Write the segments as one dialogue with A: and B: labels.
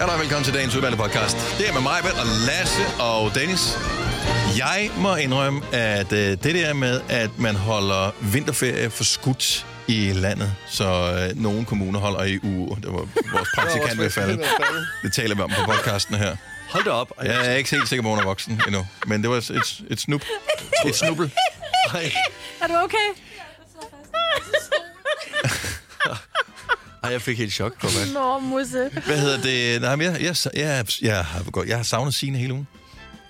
A: Goddag, velkommen til dagens udvalgte podcast. Det er med mig, og Lasse og Dennis. Jeg må indrømme, at øh, det der med, at man holder vinterferie for skudt i landet, så øh, nogle kommuner holder i uger. Det var vores praktikant ved falde. Det taler vi om på podcasten her.
B: Hold da op. Ej,
A: Jeg er ikke helt sikker på, at hun er voksen endnu. Men det var et, et, et snup. Et snubbel.
B: ej,
C: Er du okay?
B: ej, jeg fik helt chok på mig.
C: Nå, musse.
A: Hvad hedder det? Nej, men jeg, jeg, jeg, jeg, har, gået- jeg har savnet Signe hele ugen.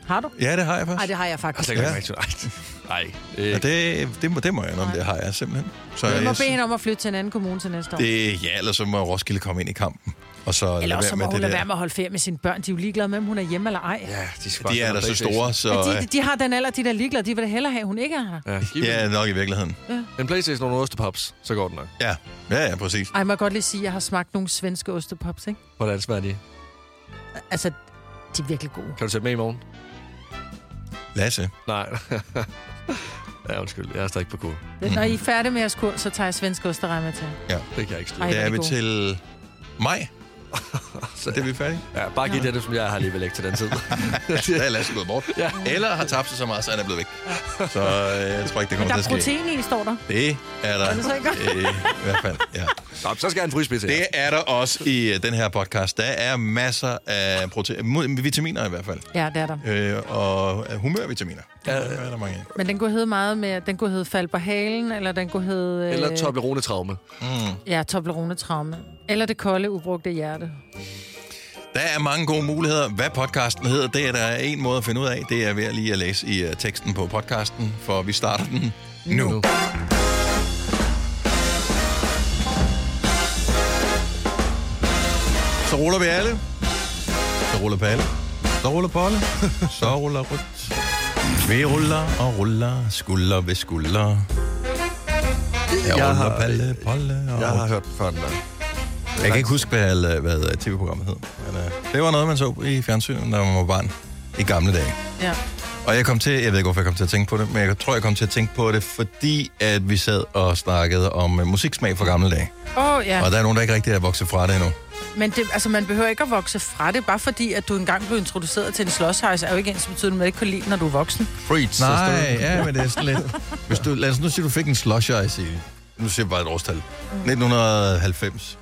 C: Har du?
A: Ja, det har jeg faktisk.
C: Nej, det har jeg faktisk.
B: Altså, jeg kan ikke rigtig... Ej, øh,
A: Ja, det, det, må, det må jeg indrømme, det har jeg simpelthen. Så
C: Du må
A: jeg,
C: bede hende om at flytte til en anden kommune til næste år.
A: det, ja, ellers så må Roskilde komme ind i kampen. Og så
C: Eller
A: lade
C: også så
A: være
C: må
A: med
C: hun
A: det
C: lade
A: der.
C: være med at holde ferie med sine børn. De er jo ligeglade med, om hun er hjemme eller ej. Ja.
B: ja, de, skal
A: De er da så store, så
C: De, de, de, har den alder, de der er ligeglade. De vil da hellere have, at hun ikke er her.
B: Ja, giv
A: øh, ja,
B: yeah.
A: nok i virkeligheden.
B: en Playstation og nogle ostepops, så går den nok.
A: Ja, ja, ja præcis.
C: Ej, må jeg godt lige sige, at jeg har smagt nogle svenske ostepops, ikke?
B: Hvordan smager de?
C: Altså, de er virkelig gode.
B: Kan du sætte med i morgen?
A: Lasse.
B: Nej. ja, undskyld, jeg er stadig på kur.
A: Mm.
C: Når I er færdige med jeres kur, så tager jeg svensk osterej med til.
B: Det kan jeg ikke styre.
C: Ej,
A: Det
C: hvor
A: er
C: er de
A: vi
C: gode.
A: til maj. Så det er vi færdige.
B: Ja, bare giv det, som jeg har alligevel ikke til den tid.
A: Der er Lasse gået bort.
B: Ja.
A: Eller har tabt sig så meget, så han er blevet væk. Så øh, jeg tror ikke,
C: Men
A: det
C: der
A: kommer til
C: er
A: at ske.
C: protein i, står der.
A: Det er der.
C: Er det så ikke godt?
A: øh, I hvert fald, ja.
B: Nå, så skal jeg have en fryspil til jer.
A: Det er der også i øh, den her podcast. Der er masser af protein, vitaminer i hvert fald.
C: Ja, det er der.
A: øh, og øh, humørvitaminer. Ja,
B: Ja,
A: øh. er der mange af.
C: Men den kunne hedde meget mere... Den kunne hedde fald på halen, eller den kunne hedde... øh,
B: Eller Toblerone-traume.
A: Mm.
C: Ja, Toblerone-traume. Eller det kolde, ubrugte hjerte.
A: Der er mange gode muligheder. Hvad podcasten hedder, det er der en måde at finde ud af. Det er ved lige at læse i uh, teksten på podcasten, for vi starter den nu. nu.
B: Nu.
A: Så ruller vi alle. Så ruller Palle. Så ruller Polle. Så ruller Rut. Vi ruller og ruller, skulder ved skulder. Jeg, jeg ruller Palle, Polle og
B: jeg har hørt før den der.
A: Jeg kan ikke huske, hvad, øh, hvad tv-programmet hed. Men, øh, det var noget, man så i fjernsynet, når man var barn i gamle dage.
C: Ja.
A: Og jeg kom til, jeg ved ikke, hvorfor jeg kom til at tænke på det, men jeg tror, jeg kom til at tænke på det, fordi at vi sad og snakkede om øh, musiksmag fra gamle dage.
C: Åh, oh, ja.
A: Og der er nogen, der ikke rigtig er vokset fra det endnu.
C: Men det, altså, man behøver ikke at vokse fra det. Bare fordi, at du engang blev introduceret til en slåshejs, er jo ikke ens betydende, at man ikke kan lide den, når du er voksen.
B: Preach,
A: Nej, ja, men det er sådan lidt... Hvis du, lad os nu sige, du fik en slush ice i... Nu siger jeg bare et årstal. 1990.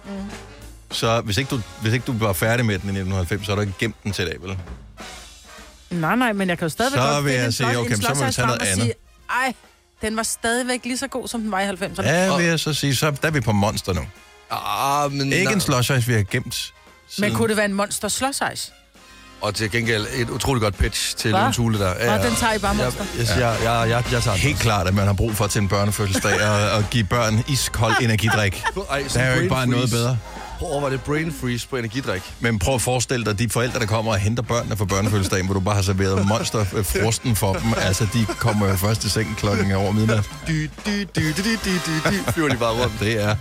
A: Så hvis ikke, du, hvis ikke du var færdig med den i 1990, så har du ikke gemt den til i dag, vel?
C: Nej, nej, men jeg kan jo stadigvæk
A: Så
C: godt
A: vil
C: finde
A: jeg
C: en
A: sige,
C: slås-
A: okay,
C: en
A: så må vi tage
C: slåshejsfrem
A: noget
C: og
A: andet.
C: sige, Ej, den var stadigvæk lige så god, som den var i 90'erne.
A: Ja, vil jeg så sige, så der er vi på monster nu.
B: Ah, men
A: Ikke
B: nej.
A: en slush ice, vi har gemt.
C: Men kunne det være en monster slåshejs?
B: Og til gengæld et utroligt godt pitch til
C: Hva?
B: Lune Thule der.
C: Nå, den tager I bare monster.
B: Jeg, jeg, jeg, jeg, jeg, jeg tager den.
A: Helt klart, at man har brug for til en børnefødselsdag at, at give børn iskold energidrik.
B: Ej,
A: Der er
B: sådan
A: jo
B: brain
A: ikke bare noget
B: freeze.
A: bedre.
B: Prøv at overveje det brain freeze på energidrik.
A: Men prøv at forestille dig, de forældre, der kommer og henter børnene fra børnefødselsdagen, hvor du bare har serveret monsterfrosten for dem. Altså, de kommer jo først i seng klokken over midnat.
B: Du, du, du, du, du, du, du, du, flyver de bare rundt.
A: Det er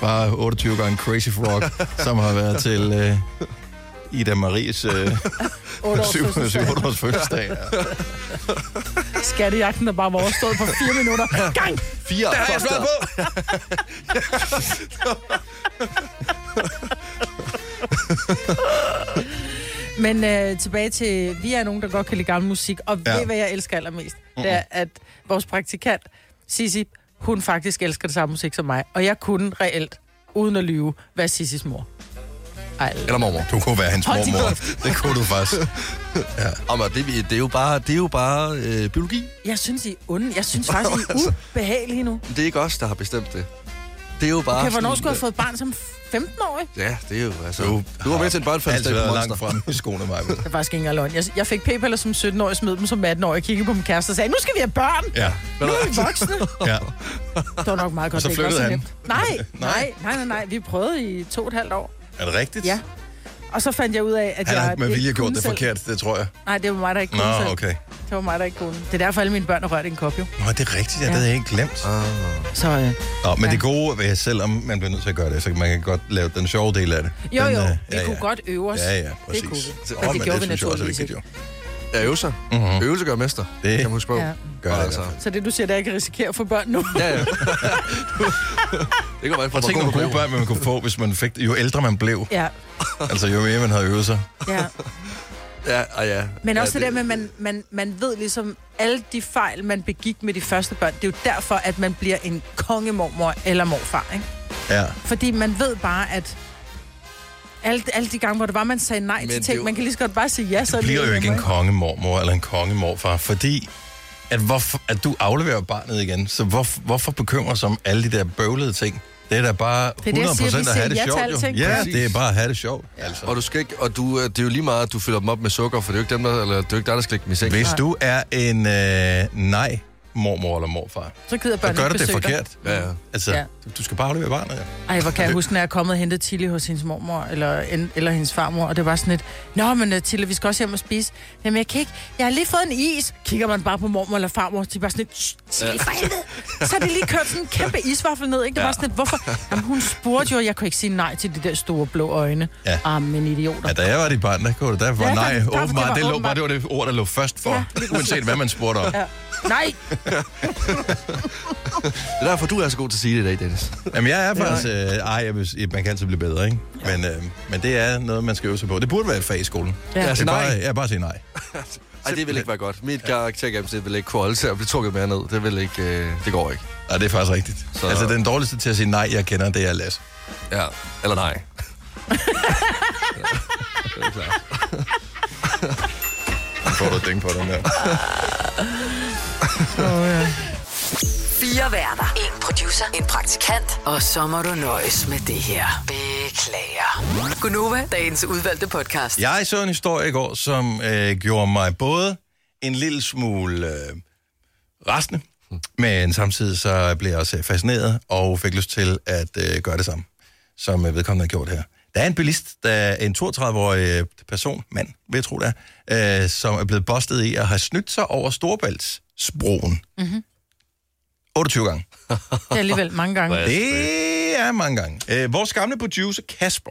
A: bare 28 gange Crazy Frog, som har været til øh, Ida Maries øh,
C: 8 års
A: 7-8 års fødselsdag. Ja.
C: Skattejagten er bare overstået på 4 minutter. Gang!
B: Fire foster.
A: på!
C: Men øh, tilbage til, vi er nogen, der godt kan lide gammel musik, og
A: Ja.
C: ja. ved hvad jeg elsker allermest? Mm-hmm. Det er, at vores praktikant, Sissi, hun faktisk elsker det samme musik som mig, og jeg kunne reelt, uden at lyve, være Sissis mor. Ej,
B: Eller mormor.
A: Du kunne være hans
C: Hold din
A: mormor.
C: kæft.
A: Det kunne du faktisk.
B: Om, det, det er jo bare, det er jo bare øh, biologi.
C: jeg synes, I er onde. Jeg synes faktisk, I
A: Altså.
C: er ubehagelige nu.
B: Det er ikke os, der har bestemt det. Det er jo bare...
C: Okay, hvornår
B: sådan- øh,
C: skulle jeg have fået barn som 15-årig?
B: Ja, det er jo altså...
A: Du
B: Du, du var med til
A: Altid
B: en børnefødselsdag på
A: været
B: Monster.
A: langt frem i skoene, mig.
C: Det er faktisk ikke engang løgn. Jeg, jeg fik p-piller som 17-årig, smed dem som 18-årig, kiggede på min kæreste og sagde, nu skal vi have børn!
A: Ja,
C: Nu er vi voksne!
A: ja.
C: Det var nok meget godt.
A: Og så
C: det ikke var
A: flyttede han.
C: nemt. Nej, nej, nej, nej, nej. Vi prøvede i to og et halvt år.
A: Er det rigtigt?
C: Ja. Og så fandt jeg ud af, at
A: Han
C: jeg...
A: har med
C: ikke
A: vilje gjort
C: kunne
A: det
C: selv.
A: forkert, det tror jeg.
C: Nej, det var mig, der ikke kunne selv.
A: Nå, okay.
C: Det var mig, der ikke kunne. Det er derfor, alle mine børn har rørt i en kop, jo.
A: Nå, det er rigtigt, ja, det
C: Ja.
A: havde jeg ikke glemt.
B: Ah.
C: Så, øh,
A: Nå, men
C: Ja.
A: det gode ved, selvom man bliver nødt til at gøre det, så man kan godt lave den sjove del af det.
C: jo,
A: den,
C: jo,
A: øh,
C: vi kunne godt øve os.
A: Ja, ja, præcis.
C: Det kunne vi.
A: Åh,
C: Og det
A: men
C: gjorde vi
A: synes jeg også er
C: naturligvis
A: vigtigt,
C: ikke.
A: altså, jo.
B: Ja, øvelser.
A: Mhm.
B: Mm-hmm. Øvelse gør mester,
A: Det
B: det. kan man huske på. Altså.
C: Ja.
B: Ja.
A: Gør det i hvert
C: Så det, du siger, det er, at jeg kan risikere at få børn nu.
B: Ja, ja. det kommer an på,
A: Og
B: hvor
A: tænk
B: god
A: nogle
B: du
A: gode
B: bliver.
A: børn, man kunne få, hvis man fik, jo ældre man blev.
C: Ja,
A: Altså, jo mere man havde øvet sig.
C: ja.
B: Ja, og ja.
C: Men
B: ja,
C: også det der med, at man, man, man ved ligesom, alle de fejl, man begik med de første børn, det er jo derfor, at man bliver en kongemormor eller morfar, ikke?
A: Ja.
C: Fordi man ved bare, at alle, alle de gange, hvor det var, man sagde nej
B: Men
C: til
B: det er
C: ting,
B: jo-
C: man kan lige så godt bare sige ja, så er det
A: Du bliver jo
C: nemmere,
A: ikke en kongemormor eller en kongemorfar, fordi at, hvorfor, at du afleverer barnet igen. Så hvor, hvorfor bekymre sig om alle de der bøvlede ting? Det er da bare 100%
C: det, jeg siger, vi
A: at have
C: siger
A: det
C: ja til
A: sjovt, jo.
C: alting.
A: Ja,
B: Præcis.
A: det er bare at have det sjovt, altså.
B: Og du skal ikke, og du, øh, det er jo lige meget, at du fylder dem op med sukker, for det er jo ikke, dem, der, eller, det er jo ikke dig, der skal lægge dem i seng.
A: Hvis du er en øh, nej mormor eller morfar,
C: Så gider
A: så
C: børnene
A: gør
C: ikke
A: du det
C: besøge dig. Mm.
A: forkert.
B: Ja, ja.
A: Altså,
C: Ja.
A: du- du skal bare aflevere barnet, ja.
C: Ej, hvor kan jeg huske, når jeg er kommet og hentet Tilly hos hendes mormor, eller, en- eller hendes farmor, og det var sådan et, Nå, men øh, Tilly, vi skal også hjem og spise. Jamen, jeg kan ikke, jeg har lige fået en is. Kigger man bare på mormor eller farmor, de er bare sådan et, "Shh, Tilly, for helvede." Så har de lige kørt sådan en kæmpe isvaffel ned, ikke? Det var sådan et, hvorfor? Jamen, hun spurgte jo, og jeg kunne ikke sige nej til de der store blå øjne.
A: Ja.
C: Ah, men idioter.
A: Ja, da jeg var dit barn, der kunne du, der var
C: Ja, der-
A: nej,
C: der- det var
A: åbenbart, det, lå, bare,
C: åbenbart.
A: det var det ord, der lå først for,
C: Ja,
A: ja,
C: lige præcis.
A: uanset hvad man spurgte om. Ja.
C: Nej!
B: Det er derfor, du er så god til at sige det i dag, Dennis.
A: Jamen, jeg er faktisk, øh, ej, jeg vil, man kan altid blive bedre, ikke? Ja. Men, øh, men det er noget, man skal øve sig på. Det burde være et fag i skolen.
C: Ja.
A: Det
B: Altså,
A: er
B: nej.
A: bare, jeg bare sige nej.
B: Ej, det vil ikke være godt. Mit karaktergennemsnit vil ikke kunne holde til at blive trukket mere ned. Det vil ikke, øh, det går ikke.
A: Nej, det er faktisk rigtigt. Så...
B: Så-
A: Altså, den dårligste til at sige nej, jeg kender, det er Lasse.
B: Ja, eller nej.
A: Nu får du et ding på den der.
D: Fire værter. En producer. En praktikant. Og så må du nøjes med det her. Beklager. Gunova, dagens udvalgte podcast.
A: Jeg så en historie i går, som øh, gjorde mig både en lille smule øh, rastende, men samtidig så blev jeg også øh, fascineret og fik lyst til at øh, gøre det samme, som øh, vedkommende har gjort her. Der er en bilist, der er en 32-årig øh, person, mand, vil jeg tro det er, øh, som er blevet bustet i at have snydt sig over Storbæltsbroen. Mm-hmm. 28 gange.
C: Mhm. Det er alligevel mange gange.
A: Det er mange gange. Øh, vores gamle producer, Kasper,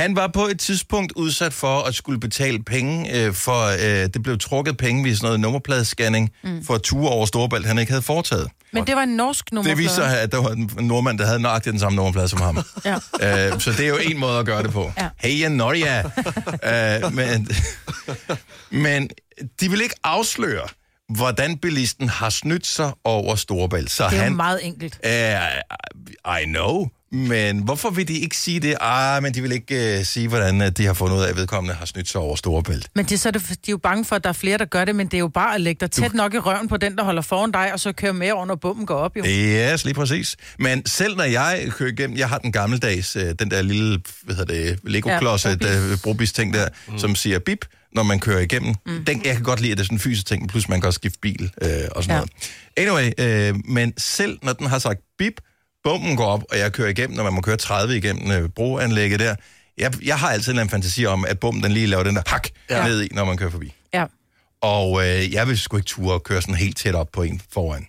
A: han var på et tidspunkt udsat for at skulle betale penge, øh, for øh, det blev trukket penge ved sådan noget nummerpladescanning mm. for ture over Storebælt, han ikke havde foretaget.
C: Men det var en norsk nummer.
A: Det viser sig, at der var en nordmand, der havde nøjagtigt den samme nummerplade som ham.
C: Ja.
A: øh, så det er jo en måde at gøre det på.
C: Ja.
A: Hey, Norja! øh, men, men de vil ikke afsløre, hvordan bilisten har snydt sig over Storebælt. Så
C: Det er jo
A: han
C: meget enkelt.
A: Uh, I know, men hvorfor vil de ikke sige det? Ah, men de vil ikke uh, sige, hvordan at de har fundet ud af, at vedkommende har snydt sig over Storebælt.
C: Men det, er så er det, de er jo bange for, at der er flere, der gør det, men det er jo bare at lægge dig tæt nok i røven på den, der holder foran dig, og så køre med over, når bommen går op. Jo.
A: Yes, lige præcis. Men selv når jeg kører igennem, jeg har den gammeldags, uh, den der lille, hvad hedder det, Lego-klods,
C: Ja,
A: ja, brobis-ting der, mm. som siger bip, når man kører igennem. Mm. Den, jeg kan godt lide, at det er sådan en fysisk ting, plus man kan også skifte bil øh, og sådan ja. noget. Anyway, øh, men selv når den har sagt bip, bomben går op, og jeg kører igennem, når man må køre 30 igennem øh, broanlægget der, jeg, jeg har altid en eller anden fantasi om, at bomben den lige laver den der hak ja.
B: Ja.
A: ned i, når man kører forbi.
C: Ja.
A: Og øh, jeg vil sgu ikke ture at køre sådan helt tæt op på en foran.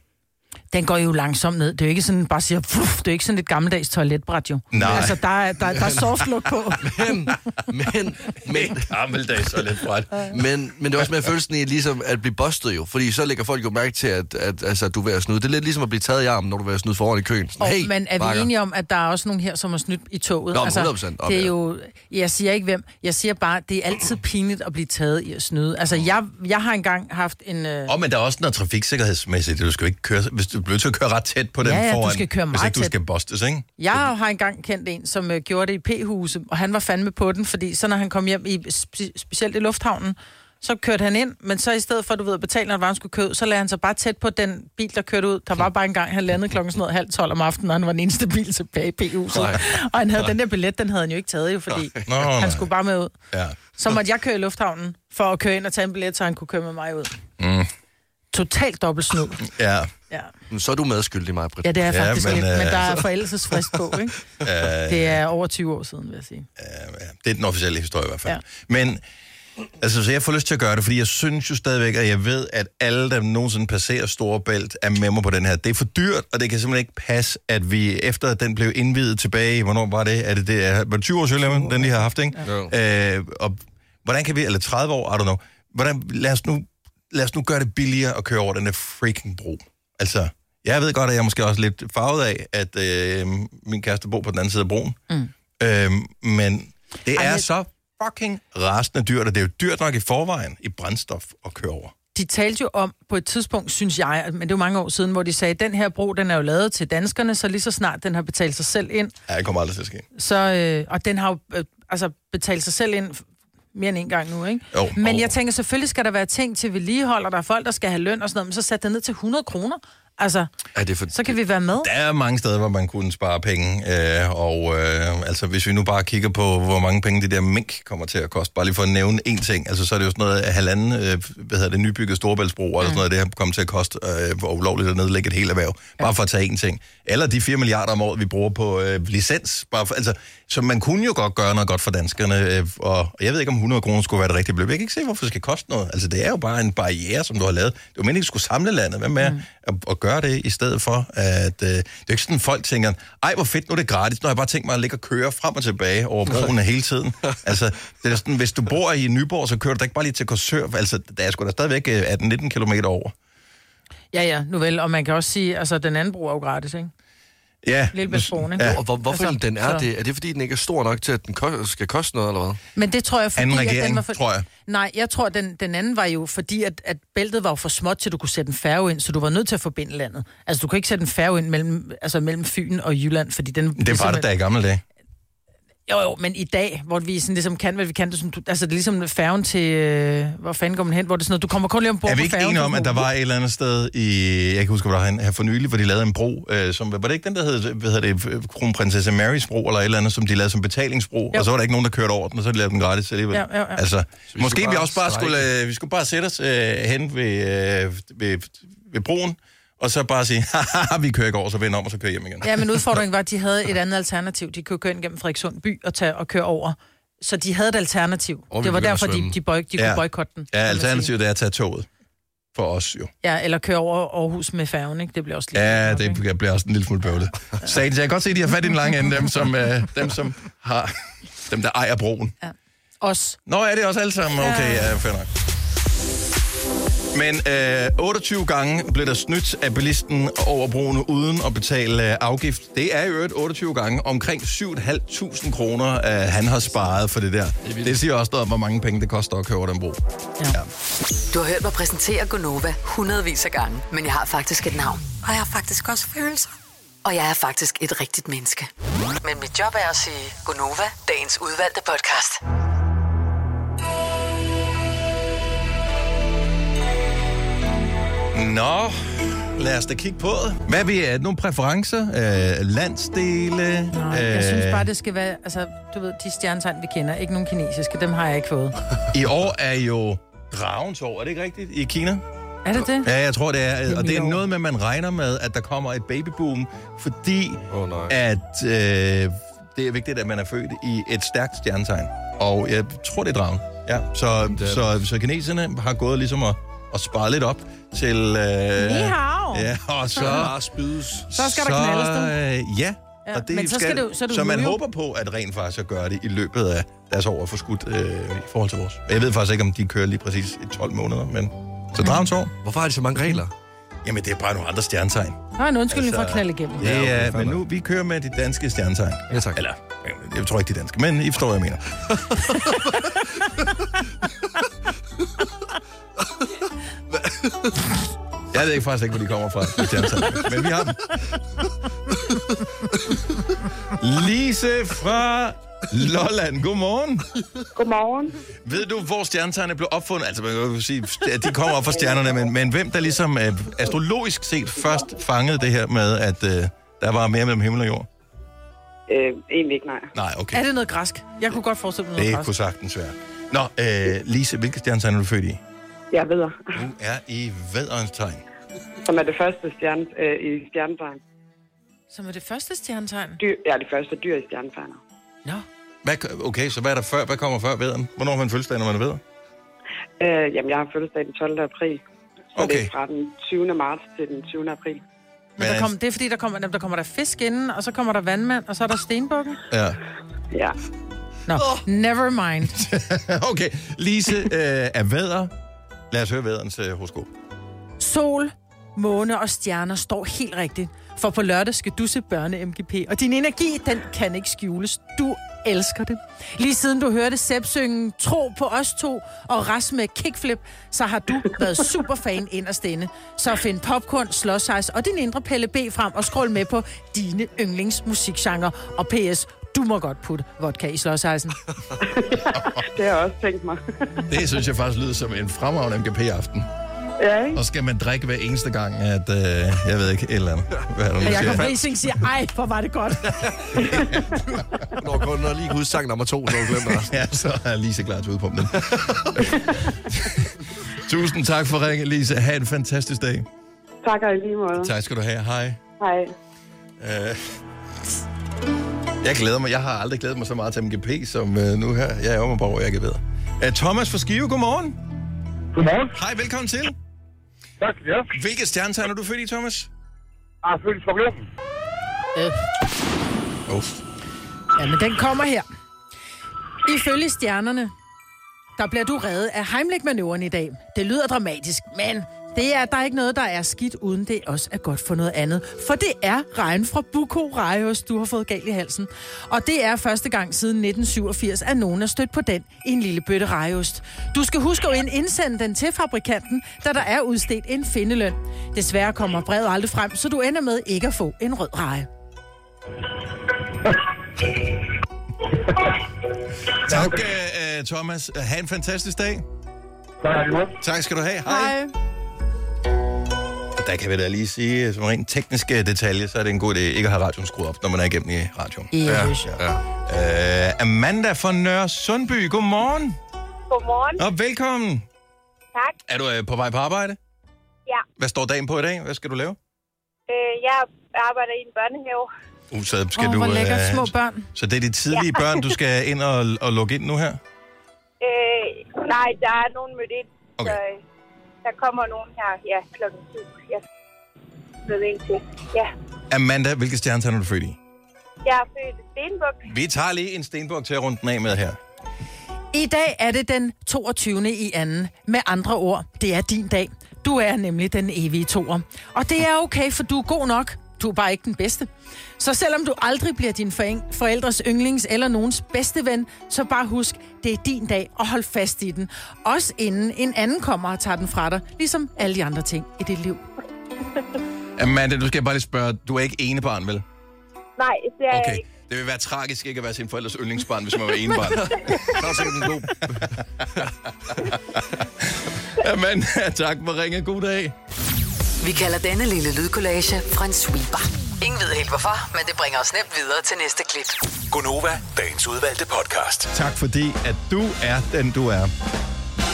C: Den går jo langsomt ned. Det er jo ikke sådan, bare siger, "Fuff", det er jo ikke sådan et gammeldags toiletbræt, jo.
A: Nej.
C: Altså, der er, der, der er softluk på.
B: Men, men, men,
A: Gammeldags og lidt bræt.
B: men, men det er også med følelsen i ligesom at blive bustet jo. Fordi så lægger folk jo mærke til, at, at, altså, at du er ved at snyde. Det er lidt ligesom at blive taget i armen, når du er ved at snyde foran i køen. Sådan,
C: Og,
B: hey,
C: men er vi
B: bakker."
C: enige om, at der er også nogen her, som har snydt i toget? Altså,
B: Nå, men 100% op,
C: det er
B: ja.
C: jo, jeg siger ikke hvem, jeg siger bare, det er altid pinligt at blive taget i at snyde. Altså, jeg, jeg har engang haft en... Øh,
A: Og men der er også noget trafiksikkerhedsmæssigt. Du skal jo ikke køre, hvis du bliver til at køre ret tæt på den
C: Ja, ja, du
A: foran.
C: skal køre
A: hvis
C: meget
A: ikke du
C: tæt.
A: skal bostes, ikke?
C: Jeg har engang kendt en, som øh, gjorde det i P-huset, og han var fandme på den, fordi så når han kom hjem, i, spe, specielt i lufthavnen, så kørte han ind, men så i stedet for, du ved, at betale, når han var, han skulle køre ud, så lagde han sig bare tæt på den bil, der kørte ud. Der var bare engang, han landede klokken sådan noget halv tolv om aftenen, og han var den eneste bil tilbage i P-huset.
B: Nej.
C: Og han havde den der billet, den havde han jo ikke taget, jo, fordi
A: Nå, nej.
C: han skulle bare med ud.
A: Ja.
C: Så måtte jeg køre i lufthavnen for at køre ind og tage en billet, så han kunne køre med mig ud. Mm. Totalt dobbelt snud.
A: Ja,
C: Ja.
B: Så er du medskyldig, mig, Britt.
C: ja, det er
A: Ja,
C: faktisk
A: men,
C: men, lidt, men
A: øh,
C: der er forældelsesfrist på, ikke? det er over 20 år siden, vil jeg sige.
A: ja, ja. Øh, det er den officielle historie i hvert fald. Ja. Men altså, så jeg får lyst til at gøre det, fordi jeg synes jo stadigvæk, at jeg ved, at alle, der nogensinde passerer Storebælt, er med mig på den her. Det er for dyrt, og det kan simpelthen ikke passe, at vi efter at den blev indvidet tilbage, hvornår var det? Er det, det er, var det 20 år siden, den lige har haft, ikke?
B: Ja.
A: Øh, og hvordan kan vi, eller 30 år, I don't know. hvordan, lad, os nu, lad os nu gøre det billigere at køre over den der freaking bro. Altså, jeg ved godt, at jeg er måske også lidt farvet af, at øh, min kæreste bor på den anden side af broen.
C: Mm.
A: Øh, men det
C: Ej,
A: er
C: men-
A: så fucking rasende dyrt, og det er jo dyrt nok i forvejen i brændstof at køre over.
C: de talte jo om på et tidspunkt, synes jeg, men det er jo mange år siden, hvor de sagde, at den her bro, den er jo lavet til danskerne, så lige så snart den har betalt sig selv ind,
A: Ja, det kommer aldrig til at ske.
C: så, øh, og den har jo øh, altså, betalt sig selv ind f- mere end en gang nu, ikke?
A: Jo.
C: Men jeg tænker, selvfølgelig skal der være ting til vedligehold, og der er folk, der skal have løn og sådan noget, men så sæt det ned til 100 kroner. Altså,
B: Er det for...
C: så kan vi være med.
A: Der er mange steder, hvor man kunne spare penge, øh, og øh, altså, hvis vi nu bare kigger på, hvor mange penge det der mink kommer til at koste, bare lige for at nævne én ting, altså, så er det jo sådan noget, at halvanden, øh, hvad hedder det, nybygget Storebæltsbro, mm. eller sådan noget, det har kommet til at koste, øh, hvor ulovligt at nedlægge et helt erhverv, bare for at tage én ting. Eller de 4 milliarder om året, vi bruger på øh, licens, bare for, altså, så man kunne jo godt gøre noget godt for danskerne, øh, og, og jeg ved ikke, om 100 kroner skulle være det rigtige beløb. Jeg kan ikke se, hvorfor det skal koste noget. Altså, det er jo bare en barriere, som du har lavet. Det var meningen, at du skulle samle landet. Hvad med mm. at, at gøre det, i stedet for, at øh, det er jo ikke sådan, at folk tænker, ej, hvor fedt, nu er det gratis. Nu har jeg bare tænkt mig at ligge og køre frem og tilbage over broen hele tiden. altså, det er sådan, hvis du bor i Nyborg, så kører du da ikke bare lige til Korsør. Altså, der er sgu da stadigvæk øh, 18-19 km over.
C: Ja, ja, nu vel. Og man kan også sige, altså, den anden bro er jo gratis, ikke?
A: Ja.
C: Lillebæltsbroen, ikke?
A: Ja.
B: Og hvor, hvorfor
C: Altså,
B: altså, den er
C: så-
B: det? Er det, fordi den ikke er stor nok til, at den ko- skal koste noget, eller hvad?
C: Men det tror jeg, fordi...
A: Anden
C: at den
A: regering,
C: var for...
A: tror jeg.
C: Nej, jeg tror, den, den anden var jo, fordi at, at bæltet var jo for småt, til du kunne sætte en færge ind, så du var nødt til at forbinde landet. Altså, du kunne ikke sætte en færge ind mellem, altså, mellem Fyn og Jylland, fordi den...
E: Ligesom
A: Det var det da i gamle dage.
C: Jo, jo, men i dag, hvor vi sådan ligesom kan, hvad vi kan, det, er som, du, altså det er ligesom færgen til, øh, hvor fanden går man hen, hvor det er sådan noget, du kommer kun lige ombord
A: Er vi
C: på
A: ikke
C: færgen,
A: enige
C: du
A: om, at der
C: kommer-
A: var et eller andet sted i... Jeg kan huske, hvor der var her for nylig, hvor de lavede en bro, øh, som... Var det ikke den, der hed, hvad hedder det, øh, Kronprinsesse Marys bro, eller et eller andet, som de lavede som betalingsbro,
C: Jo.
A: og så var der ikke nogen, der kørte over den, og så lavede de den gratis alligevel.
C: Ja, ja, ja.
A: Altså,
B: vi
A: måske
B: skulle
A: vi
B: bare
A: også bare
B: strejke.
A: skulle... Øh, vi skulle bare sætte os øh, hen ved, øh, ved, ved broen, og så bare sige, haha, vi kører ikke over, så vend om, og så kører hjem igen.
C: Ja, men udfordringen var, at de havde et andet alternativ. De kunne køre ind gennem Frederikssund by og, tage, og køre over. Så de havde et alternativ.
B: Og vi
C: det var
B: begynder at
C: derfor, de,
B: svømme.
C: de, boy, de
A: Ja.
C: kunne boykotte den. kan
A: Ja,
C: man sige.
A: alternativet er at tage toget. For os jo.
C: Ja, eller køre over Aarhus med færgen, ikke? Det bliver også lidt...
A: Ja,
C: nok,
A: det
C: ikke?
A: bliver- bliver også en lille smule bøvlet. Sagen, jeg kan godt se, at de har fat i den lange ende, dem som, øh, dem, som har, dem, der ejer broen.
C: Os.
A: Nå, er det også alle sammen? Okay, ja, fair nok. Men øh, 28 gange blev der snydt af bilisten over broen uden at betale øh, afgift. Det er jo øvrigt 28 gange omkring 7.500 kroner, øh, han har sparet for det der. Det siger også noget om, hvor mange penge det koster at køre over den bro.
C: Ja. ja.
D: Du har hørt mig præsentere Gonova hundredvis af gange, men jeg har faktisk et navn.
F: Og jeg har faktisk også følelser.
D: Og jeg er faktisk et rigtigt menneske. Men mit job er at sige Gonova, dagens udvalgte podcast.
A: Nå, lad os da kigge på det. Hvad vi er det? Nogle præferencer? Øh, landsdele?
C: Nå, jeg synes
A: Øh.
C: bare, det skal være... Altså, du ved, de stjernetegn, vi kender. Ikke nogen kinesiske. Dem har jeg ikke fået.
A: I år er jo dragens år, er det ikke rigtigt, i Kina?
C: Er det det?
A: Ja, jeg tror, det er. Og det er
C: mit år.
A: noget med, at man regner med, at der kommer et babyboom, fordi
B: Åh, nej.
A: at øh, det er vigtigt, at man er født i et stærkt stjernetegn. Og jeg tror, det er dragen. Ja, så,
B: det er
A: så, så kineserne har gået ligesom at, at spare lidt op til... Øh,
C: Ni hao.
A: ja, og så...
B: Bare spydes.
C: Så skal der knaldes
A: øh, ja.
C: Ja,
A: Og det
C: men så skal det jo- så er det
A: så
C: jo
A: man
C: nu jo.
A: håber på, at rent faktisk at gøre det i løbet af deres år er forskudt øh, i forhold til vores. Jeg ved faktisk ikke, om de kører lige præcis i 12 måneder, men... Så dragens år?
B: Hvorfor har de så mange regler?
A: Jamen, det er bare nogle andre stjernetegn.
C: Der er en undskyldning for at
A: altså,
C: knalde igennem.
A: Ja,
B: okay,
A: ja
B: fair
A: men nu, vi kører med de danske stjernetegn.
B: Ja, tak.
A: Eller, jeg tror ikke, de er danske, men I forstår, hvad jeg mener. jeg ved ikke faktisk ikke, hvor de kommer fra, de stjernetegn, altså- men vi har dem. Lise fra Lolland, godmorgen.
G: Godmorgen.
A: Ved du, hvor stjernetegnene blev opfundet? Altså, man kan jo sige, at de kommer op fra stjernerne, men, men hvem der ligesom øh, astrologisk set først fangede det her med, at øh, der var mere mellem himmel og jord?
G: Øh, egentlig ikke, nej.
A: Nej, okay.
C: Er det noget græsk? Jeg kunne godt forestille mig noget
A: Det kunne
C: græsk.
A: sagtens være. Nå, øh, Lise, hvilke stjernetegn er du født i?
G: Jeg ved,
A: Du er i vædderens tegn.
G: som er det første stjerne, øh, i stjernetegn.
C: Som er det første stjernetegn?
G: Dyr, ja, det første dyr i stjernetegnet.
C: Nå.
A: Hvad, k- okay, så hvad er der før? Hvad kommer før vædderen? Hvornår har man fødselsdag, når man er vædder?
G: Øh, jamen, jeg har fødselsdag den 12. april. Så
A: Okay.
G: det er fra den 20. marts til den 20. april.
C: Men der kom, det er fordi, der kommer, der kommer der fisk inden, og så kommer der vandmand, og så er der stenbukken.
A: Ja.
G: Ja.
C: Nå, never mind.
A: Okay, Lise øh, er vædder, Lad os høre vædderens øh, horoskop.
C: Sol, måne og stjerner står helt rigtigt. For på lørdag skal du se børne-MGP, og din energi, den kan ikke skjules. Du elsker det. Lige siden du hørte Sepp synge Tro på os to og Ras med kickflip, så har du været superfan inderst inde. Så find popcorn, slåsejs og din indre Pelle B frem og scroll med på dine yndlingsmusikgenre. Og PS, du må godt putte vodka i slåsejsen.
G: Det har jeg også tænkt mig.
A: Det synes jeg faktisk lyder som en fremragende MGP-aften.
G: ja, ikke?
A: Og skal man drikke hver eneste gang, at øh, jeg ved ikke, et eller andet. Hvad er det,
C: Og
A: du
C: Jacob
A: siger?
C: Rising siger, ej, hvor var det godt.
B: Når kun når lige kan huske sang nummer to, så har du glemt det.
A: Ja, så er Lise klar til udpumpen. Tusind tak for ringen, Lise. Ha' en fantastisk dag.
G: Tak og i lige måde.
A: Tak skal du have. Hej.
G: Hej.
A: Øh, Jeg glæder mig. Jeg har aldrig glædet mig så meget til MGP, som øh, nu her. Jeg er om og jeg kan bedre. Øh, Thomas fra Skive, godmorgen.
H: Godmorgen.
A: Hej, velkommen til.
H: Tak, ja.
A: Hvilket stjernetegn er du født i, Thomas?
H: Jeg er født i Skorpionen.
C: Øh.
A: Oh.
C: Ja, men den kommer her. Ifølge stjernerne, der bliver du reddet af Heimlich-manøvren i dag. Det lyder dramatisk, men det er, der er ikke noget, der er skidt, uden det også er godt for noget andet. For det er regn fra Buko Rajos, du har fået galt i halsen. Og det er første gang siden 1987, at nogen er stødt på den i en lille bøtte rejost. Du skal huske at ind- indsende den til fabrikanten, da der er udstedt en findeløn. Desværre kommer brevet aldrig frem, så du ender med ikke at få en rød reje.
A: Tak, øh, øh, Thomas. Ha' en fantastisk dag.
H: Tak, i lige måde.
A: Tak skal du have. Hej. Der kan vi da lige sige, øh, som rent tekniske detalje, så er det en god idé ikke at have radioen skruet op, når man er igennem i radioen.
C: Ja, ja.
A: Ja. Øh, Amanda fra Nørre Sundby, godmorgen.
I: Godmorgen.
A: Og velkommen.
I: Tak.
A: Er du øh, på vej på arbejde?
I: Ja.
A: Hvad står dagen på i dag? Hvad skal du lave?
I: Øh, jeg arbejder i en børnehave.
A: Uh, så skal
C: Åh,
A: du,
C: hvor lækkert,
A: øh,
C: små børn.
A: Så det er de tidlige ja. børn, du skal ind og, og logge ind nu her?
I: Øh, nej, der er nogen mødt ind.
A: Okay.
I: Så, øh, der kommer nogen her ja, klokken 7. Jeg ved ind til. Ja.
A: Amanda, hvilke stjernetegn er du født i?
I: Jeg er født i Stenbuk.
A: Vi tager lige en stenbog til at runde den af med her.
C: I dag er det den 22. i anden. Med andre ord, det er din dag. Du er nemlig den evige toer. Og det er okay, for du er god nok. Du er bare ikke den bedste. Så selvom du aldrig bliver din foreng- forældres yndlings eller nogens bedste ven, så bare husk, det er din dag, og hold fast i den. Også inden en anden kommer og tager den fra dig, ligesom alle de andre ting i dit liv.
A: Amanda, du skal jeg bare lige spørge, du er ikke ene barn, vel?
I: Nej, det er jeg
A: Okay.
I: ikke.
A: Det vil være tragisk ikke at være sin forældres yndlingsbarn, hvis man var ene barn.
B: Så er det sikkert en god...
A: Amanda, tak for ringe. God dag.
D: Vi kalder denne lille lydkollage en sweeper. Ingen ved helt hvorfor, men det bringer os nemt videre til næste klip.
J: Gunova, dagens udvalgte podcast.
A: Tak fordi, at du er den, du er.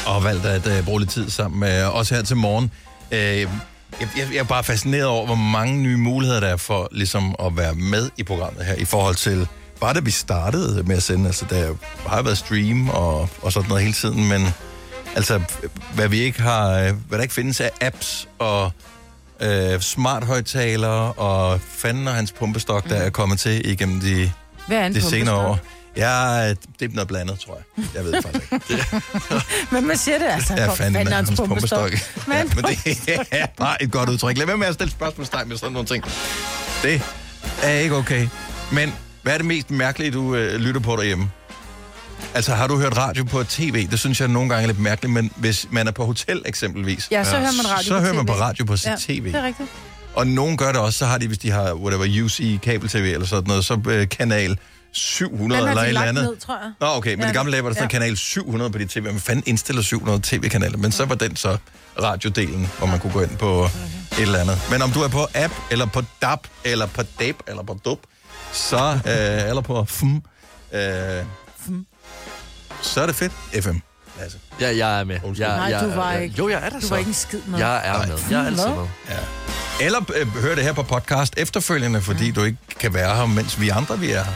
A: Og valgte at uh, bruge lidt tid sammen med os her til morgen. Uh, jeg, jeg, jeg er bare fascineret over, hvor mange nye muligheder der er for ligesom at være med i programmet her, i forhold til bare da vi startede med at sende. Altså, der har jo været stream og, og sådan noget hele tiden, men altså, hvad vi ikke har, øh, hvad der ikke findes af apps og øh, smart højtalere og fanden og hans pumpestok, der er kommet til igennem de
C: Mm. Hvad er en
A: det senere
C: pumpestok?
A: år. Ja, det er noget blandet, tror jeg. Jeg ved det faktisk ikke.
C: Men man siger det altså.
A: Ja,
C: Kom,
A: fanden er
C: hans
A: hans pumpestok.
C: Men
A: Ja, men det er bare et godt udtryk. Lad være med at stille spørgsmålstegn med sådan nogle ting. Det er ikke okay. Men hvad er det mest mærkelige, du øh, lytter på derhjemme? Altså, har du hørt radio på tv? Det synes jeg nogle gange er lidt mærkeligt, men hvis man er på hotel eksempelvis,
C: Ja, så hører man radio
A: så
C: på
A: hører man
C: TV.
A: på radio på sit
C: Ja,
A: tv.
C: det er rigtigt.
A: Og nogen gør det også, så har de, hvis de har whatever, UC, kabel-tv eller sådan noget, så øh, kanal 700
C: Den har
A: eller
C: de
A: et eller
C: lagt
A: andet.
C: ned, tror jeg.
A: Nå, okay, men
C: Ja.
A: ja, det gamle dage var der sådan ja. kanal 700 på dit tv. Hvem fanden indstiller 700 tv-kanaler? Men så var den så radiodelen, hvor man kunne gå ind på okay. et eller andet. Men om du er på app, eller på DAB, eller på DAB, eller på DUB, så, øh, eller på FM, øh, så er det fedt. FM, Lasse.
B: Ja, jeg er med.
A: Undskyld.
B: Jeg,
C: Nej,
B: jeg,
C: du var
B: jeg,
C: ikke.
B: Jo, jeg er der
C: Du
B: så.
C: var ikke en skid med.
B: Jeg er med. Jeg er altid
C: Hvad?
B: med.
A: Eller øh, hør det her på podcast efterfølgende, fordi mm. du ikke kan være her, mens vi andre vi er her.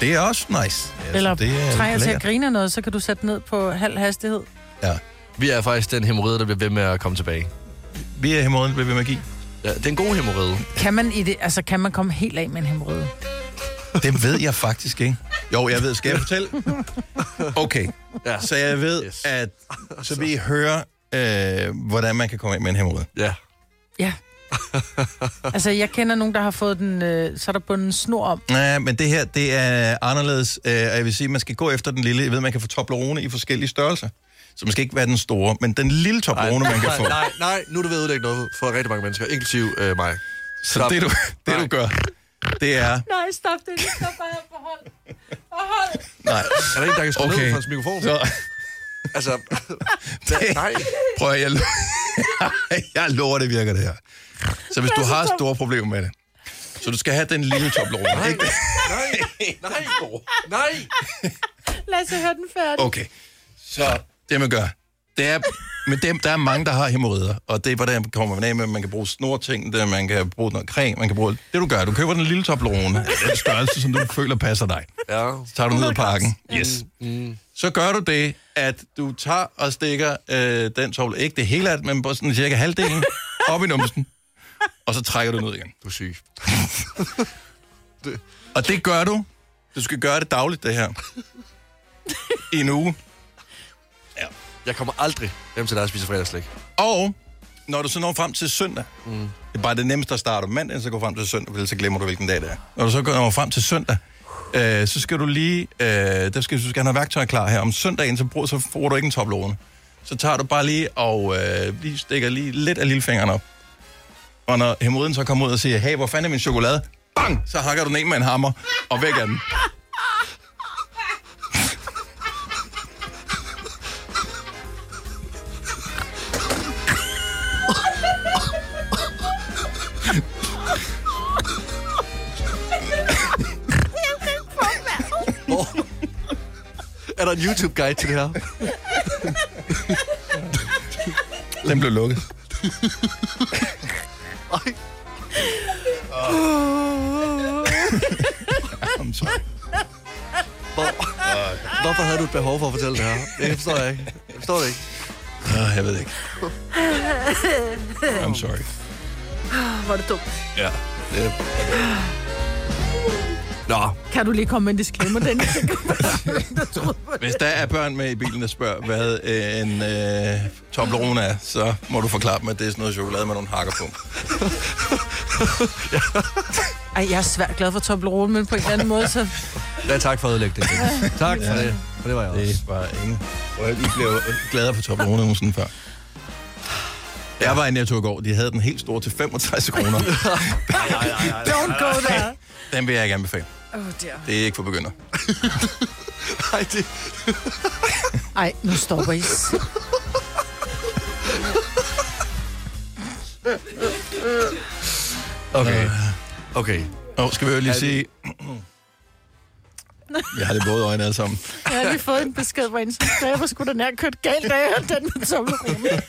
A: Det er også nice. Altså,
C: Eller
A: det er
C: trænger til at
A: lækkert.
C: grine af noget, så kan du sætte ned på halv hastighed.
A: Ja.
B: Vi er faktisk den hemorrhide, der bliver ved med at komme tilbage.
A: Vi er her morgen ved magi.
B: Ja, det er en god hemorrhide.
C: Kan man, i det, altså, kan man komme helt af med en hemorrhide?
A: Det ved jeg faktisk ikke. Jo, jeg ved. Skal jeg fortælle? Okay.
B: Ja.
A: Så jeg ved,
B: Yes.
A: at så vi hører øh, hvordan man kan komme af med en hemorrhoide.
B: Ja.
C: Ja. altså, jeg kender nogen, der har fået den, øh, så er der bundet en snor om.
A: Nej, men det her, det er anderledes. Øh, og jeg vil sige, man skal gå efter den lille. Jeg ved, man kan få Toblerone i forskellige størrelser. Så man skal ikke være den store, men den lille Toblerone, man kan
B: nej,
A: få.
B: nej, nej, nu er du ved at ødelægge noget for rigtig mange mennesker, inklusive øh, mig.
A: Så det du, det, du gør, det er...
C: Nej, stop det. Stop bare forhold. Forhold.
A: Nej,
B: Er der en, der kan skrue okay.
A: okay.
B: ned for hans mikrofon?
A: Så,
B: Altså, nej.
A: prøv at, jeg, lo- jeg lover, det virker det her. Så hvis du har store problemer med det, så du skal have den lille Toblerone. Ikke?
B: Nej, nej, nej.
C: Lad os høre den færdig.
A: Okay, så det man gør, det er, men dem, der er mange, der har hemorrider, og det er, hvordan kommer man af med, man kan bruge snorting, det, man kan bruge noget creme, man kan bruge... Det du gør, du køber den lille Toblerone, af den størrelse, som du føler passer dig.
B: Ja. Mm,
A: Så tager du den ned i parken. Yes. Så gør du det, at du tager og stikker øh, den tobler, ikke det hele af det, men på sådan cirka halvdelen, op i numsen, og så trækker du den ud igen.
B: Du er syg.
A: Og det gør du. Du skal gøre det dagligt, det her. I en uge.
B: Jeg kommer aldrig hjem til dig og spiser fredagslæg.
A: Og når du så når frem til søndag, mm. det er bare det nemmeste at starte om mandagen, så går frem til søndag, for ellers så glemmer du, hvilken dag det er. Når du så går frem til søndag, øh, så skal du lige, øh, der skal, du skal have værktøj klar her. Om søndagen, så, bruger, så får du ikke en toplåne. Så tager du bare lige og øh, lige stikker lige lidt af lillefingeren op. Og når hemorrhoiden så kommer ud og siger, hey, hvor fanden er min chokolade? Bang! Så hakker du den en med en hammer, og væk er den.
B: Er der en YouTube-guide til det her?
A: Den blev lukket.
B: Ej.
A: I'm sorry.
B: Hvor, hvorfor havde du et behov for at fortælle det her? Det forstår jeg ikke. Jeg forstår det ikke.
A: Ah, jeg ved ikke. I'm sorry.
C: Ah, Hvor er det dumt.
A: Ja.
B: Nå,
C: Kan du lige komme med en disclaimer, den?
A: Hvis der er børn med i bilen, der spørger, hvad øh, en øh, Toblerone er, så må du forklare dem, at det er sådan noget chokolade med nogle hakker på.
C: Ej, jeg er svært glad for Toblerone, men på en eller anden måde, så...
B: ja, tak for at ødelægge det. Tak for det. Og det var jeg også.
A: Det var ingen. Og I blev gladere for Toblerone end nogensinde før. Jeg var i Netto i går. De havde den helt store til 65 kroner.
C: Don't go there.
A: Den vil jeg ikke anbefale.
C: Åh, oh, der.
A: Det er ikke for begynder.
B: Nej, det...
C: Ej, nu stopper I.
B: Okay. Okay.
A: Og skal vi jo lige sige... Jeg har det både øjne alle sammen.
C: Jeg har lige fået en besked, hvor en som sagde, hvor skulle der nær kørt galt af, og den med Toblerone.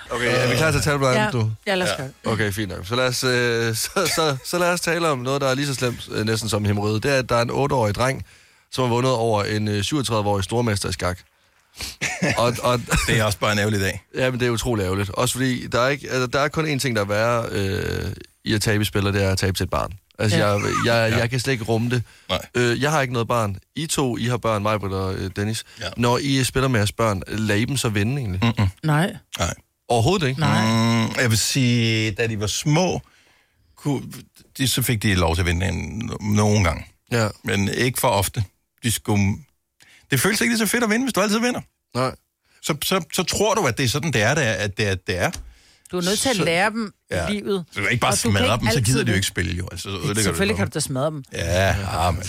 B: Okay, er vi klar til at tale om noget andet, du?
C: ja, lad os gøre det.
B: Okay, fint nok. Så lad, os, øh, så, så, så lad os tale om noget, der er lige så slemt øh, næsten som hemorrhoide. Det er, at der er en 8-årig dreng, som har vundet over en øh, 37-årig stormester i skak. og, og,
A: Det er også bare en ærgerlig dag.
B: ja, men det er utrolig ærgerligt. Også fordi, der er, ikke, altså, der er kun én ting, der er værre øh, i at tabe i spiller, det er at tabe til et barn. Altså,
C: Ja.
B: ja. jeg, jeg, jeg kan slet ikke rumme det.
A: Nej.
B: Øh, jeg har ikke noget barn. I to, I har børn, mig, og øh, Dennis.
A: Ja.
B: Ja. Når I spiller med jeres børn, lad I dem så vinde egentlig? Mm.
C: Nej,
A: Nej.
B: Overhovedet ikke?
C: nej.
A: Mm, jeg vil sige, da de var små, kunne, de, så fik de lov til at vinde en, nogen gang.
B: Ja.
A: Men ikke for ofte. De skulle... Det føles ikke lige så fedt at vinde, hvis du altid vinder.
B: Nej.
A: Så, så, så tror du, at det er sådan, det er, det er at det er, det er.
C: Du er nødt til at
A: Så-
C: lære dem
A: Ja.
C: ja. livet.
A: Så du kan ikke bare
C: Og du kan
A: smadre
C: ikke
A: dem, så gider
C: altid
A: de jo
C: vinde.
A: ikke spille, jo. Altså, så ødelægger du
C: Selvfølgelig kan
A: dem.
C: du da smadre dem.
A: Ja, ja, men...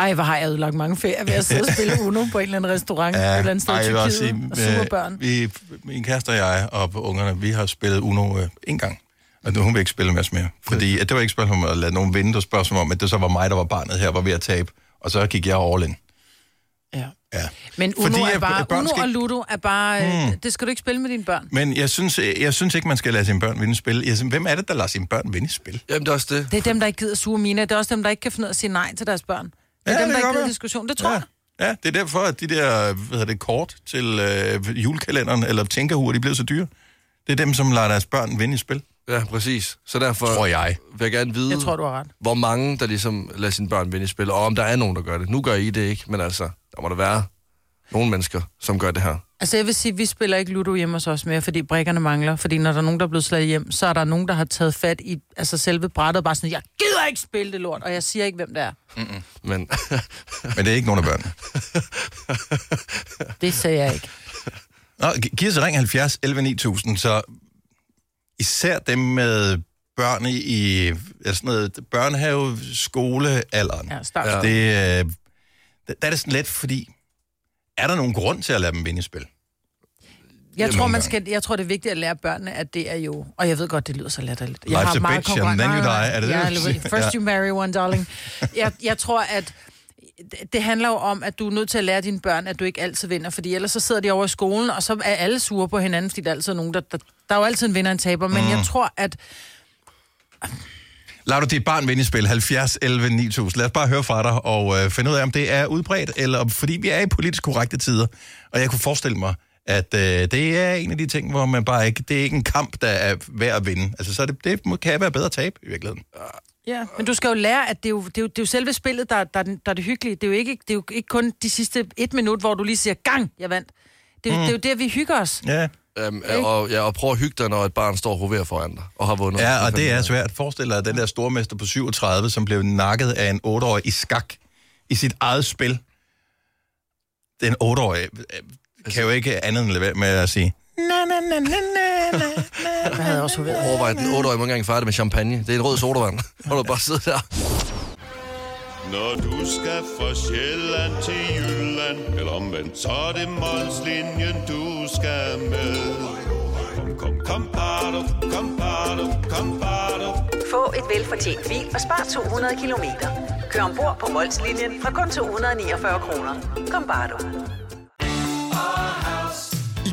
C: Ej, hvor har jeg ødelagt mange ferier ved at sidde og spille Uno på en eller anden restaurant, ja. et eller andet sted i
A: ej, jeg vil også
C: Tyrkiet, og
A: øh,
C: sure børn.
A: Vi, min kæreste og jeg og ungerne, vi har spillet Uno øh, en gang. Og nu hun vil ikke spille med os mere. Fordi at det var ikke et spørgsmål om at lade nogen vinde. Det var et spørgsmål om, at det så var mig, der var barnet her, var ved at tabe. Og så gik jeg all in.
C: Ja.
A: Ja.
C: Men Uno,
A: Fordi,
C: er
A: at-
C: bare,
A: at børn
C: Uno
A: skal
C: og
A: ikke- Hmm.
C: Ludo er bare... Mm. Det skal du ikke spille med dine børn.
A: Men jeg synes, øh, jeg synes ikke, man skal lade sine børn vinde spil. Jeg synes, hvem er det, der lader sine børn vinde spil?
B: Jamen, det er også det.
C: Det er dem, der ikke gider suge mine. Det er også dem, der ikke kan finde ud af at sige nej til deres børn. Det er
A: Ja,
C: ja, dem,
A: det
C: der
A: kan
C: ikke
A: godt
C: gider
A: være.
C: diskussion. Det tror ja. jeg.
A: Ja, det er derfor, at de der hvad hedder det, kort til øh, julekalenderen eller tænkerhuer, de blev så dyre. Det er dem, som lader deres børn vinde i spil,
B: Ja, præcis. Så derfor
A: tror jeg.
B: vil jeg gerne vide,
C: Jeg tror, du har ret.
B: hvor mange, der ligesom lader sine børn vinde i spil, og om der er nogen, der gør det. Nu gør I det ikke, men altså, der må der være nogle mennesker, som gør det her.
C: Altså jeg vil sige, vi spiller ikke Ludo hjemme hos os mere, fordi brækkerne mangler. Fordi når der er nogen, der er blevet slået hjem, så er der nogen, der har taget fat i altså selve brættet og bare sådan, jeg gider ikke spille det lort, og jeg siger ikke, hvem det er.
B: Men
A: Men det er ikke nogen af børnene.
C: Det sagde jeg ikke.
A: Nå, gi- giv os et ring 70 11 9000, så især dem med børn i- i altså sådan noget, børnehave, skolealderen.
C: Ja, start.
A: Ja. Det, øh, der der er det sådan let, fordi er der nogen grund til at lade dem vinde i spil?
C: Jeg tror,
A: nogle
C: man
A: gange.
C: skal, jeg tror, det er vigtigt at lære børnene, at det er jo... Og jeg ved godt, det lyder så latterligt. Jeg
A: Life's a bitch, and
C: konkurren-
A: then
C: Nej,
A: you
C: nej,
A: die.
C: nej.
A: Er det det,
C: Ja,
A: du
C: eller-
A: siger?
C: First
A: Ja.
C: you marry one, darling. Jeg, jeg tror, at det handler jo om, at du er nødt til at lære dine børn, at du ikke altid vinder, fordi ellers så sidder de over i skolen, og så er alle sure på hinanden, fordi der er altid nogen, der... Der, der er jo altid en vinder og en taber, men
A: Mm.
C: jeg tror, at...
A: Lad du dit barn vinde i spil 70 11 9000. Lad os bare høre fra dig og øh, finde ud af, om det er udbredt, eller om, fordi vi er i politisk korrekte tider. Og jeg kunne forestille mig, at øh, det er en af de ting, hvor man bare ikke... Det er ikke en kamp, der er værd at vinde. Altså, så er det, det må- kan være bedre at tabe i virkeligheden.
C: Ja, men du skal jo lære, at det er jo, det er jo, det er jo selve spillet, der, der, er den- der er det hyggelige. Det er, jo ikke, det er jo ikke kun de sidste et minut, hvor du lige siger, gang, jeg vandt. Det, er jo- det er jo der, vi hygger os.
A: Mm. Ja.
B: øhm, og, ja, og prøv at hygge dig, når et barn står og hoverer foran dig og har vundet.
A: Ja, og det er svært. Forestil dig den der stormester på 37, som blev nakket af en 8-årig i skak i sit eget spil. Den 8-årige øh, kan jo ikke andet end lade være med at sige... Na, na, na, na, na, na, na.
C: Jeg havde også hovedet.
B: Overvej, at den 8-årige må ikke engang fejre det med champagne. Det er en rød sodavand. Hvor du bare sidder der.
K: Når du skal fra Sjælland til Jylland Eller omvendt, så er det Molslinjen, du skal med Kom, kom, kom, bado, kom, bado, kom, bado.
D: Få et velfortjent bil og spar 200 kilometer. Kør ombord på Molslinjen fra kun 249 kroner. Kom bare du.
L: I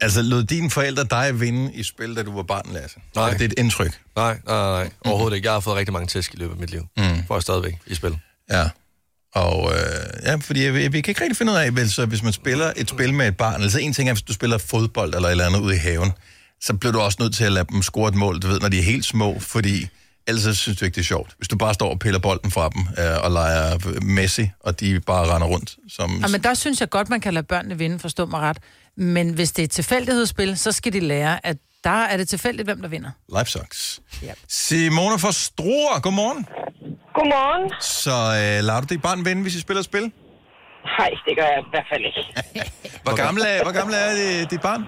A: Altså, lod dine forældre dig vinde i spil, da du var barn, Lasse?
B: Nej.
A: Det er et indtryk.
B: Nej, nej, nej. Overhovedet ikke. Jeg har fået rigtig mange tæsk i løbet af mit liv. Mm. Får jeg stadigvæk i spil.
A: Ja. Og øh, ja, fordi jeg, vi kan ikke rigtig finde ud af, vel, så hvis man spiller et spil med et barn, altså en ting er, hvis du spiller fodbold eller et eller andet ude i haven, så bliver du også nødt til at lade dem score et mål, du ved, når de er helt små, fordi ellers så synes du ikke, det er sjovt. Hvis du bare står og piller bolden fra dem øh, og leger Messi, og de bare render rundt som...
C: Ja, men der synes jeg godt, man kan lade børnene vinde, forstå mig ret. Men hvis det er et tilfældighedsspil, så skal de lære, at der er det tilfældigt, hvem der vinder.
A: Life sucks. Yep. Simone fra Struer, godmorgen.
M: Godmorgen.
A: Så øh, lader du dit barn vinde, hvis I spiller spil?
M: Nej, det gør jeg i hvert fald ikke.
A: Hvor gammel er, hvor gammel er det, dit barn?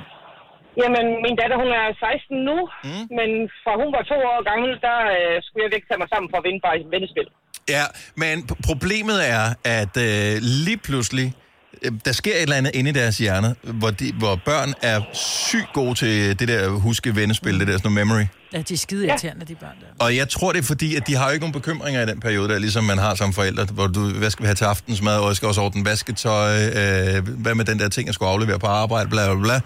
M: Jamen, min datter, hun er 16 nu, mm. men fra hun var to år gammel, der øh, skulle jeg væk tage mig sammen for at vinde bare et vendespil.
A: Ja, men p- problemet er, at øh, lige pludselig, øh, der sker et eller andet inde i deres hjerne, hvor, de, hvor børn er sygt gode til det der huske vendespil, det der sådan noget memory.
C: Ja, de er skide irriterende, de børn der.
A: Og jeg tror, det er fordi, at de har jo ikke nogen bekymringer i den periode, der ligesom man har som forældre, hvor du, hvad skal vi have til aftensmad, og jeg skal også ordne vasketøj, øh, hvad med den der ting, jeg skulle aflevere på arbejde, bla bla bla.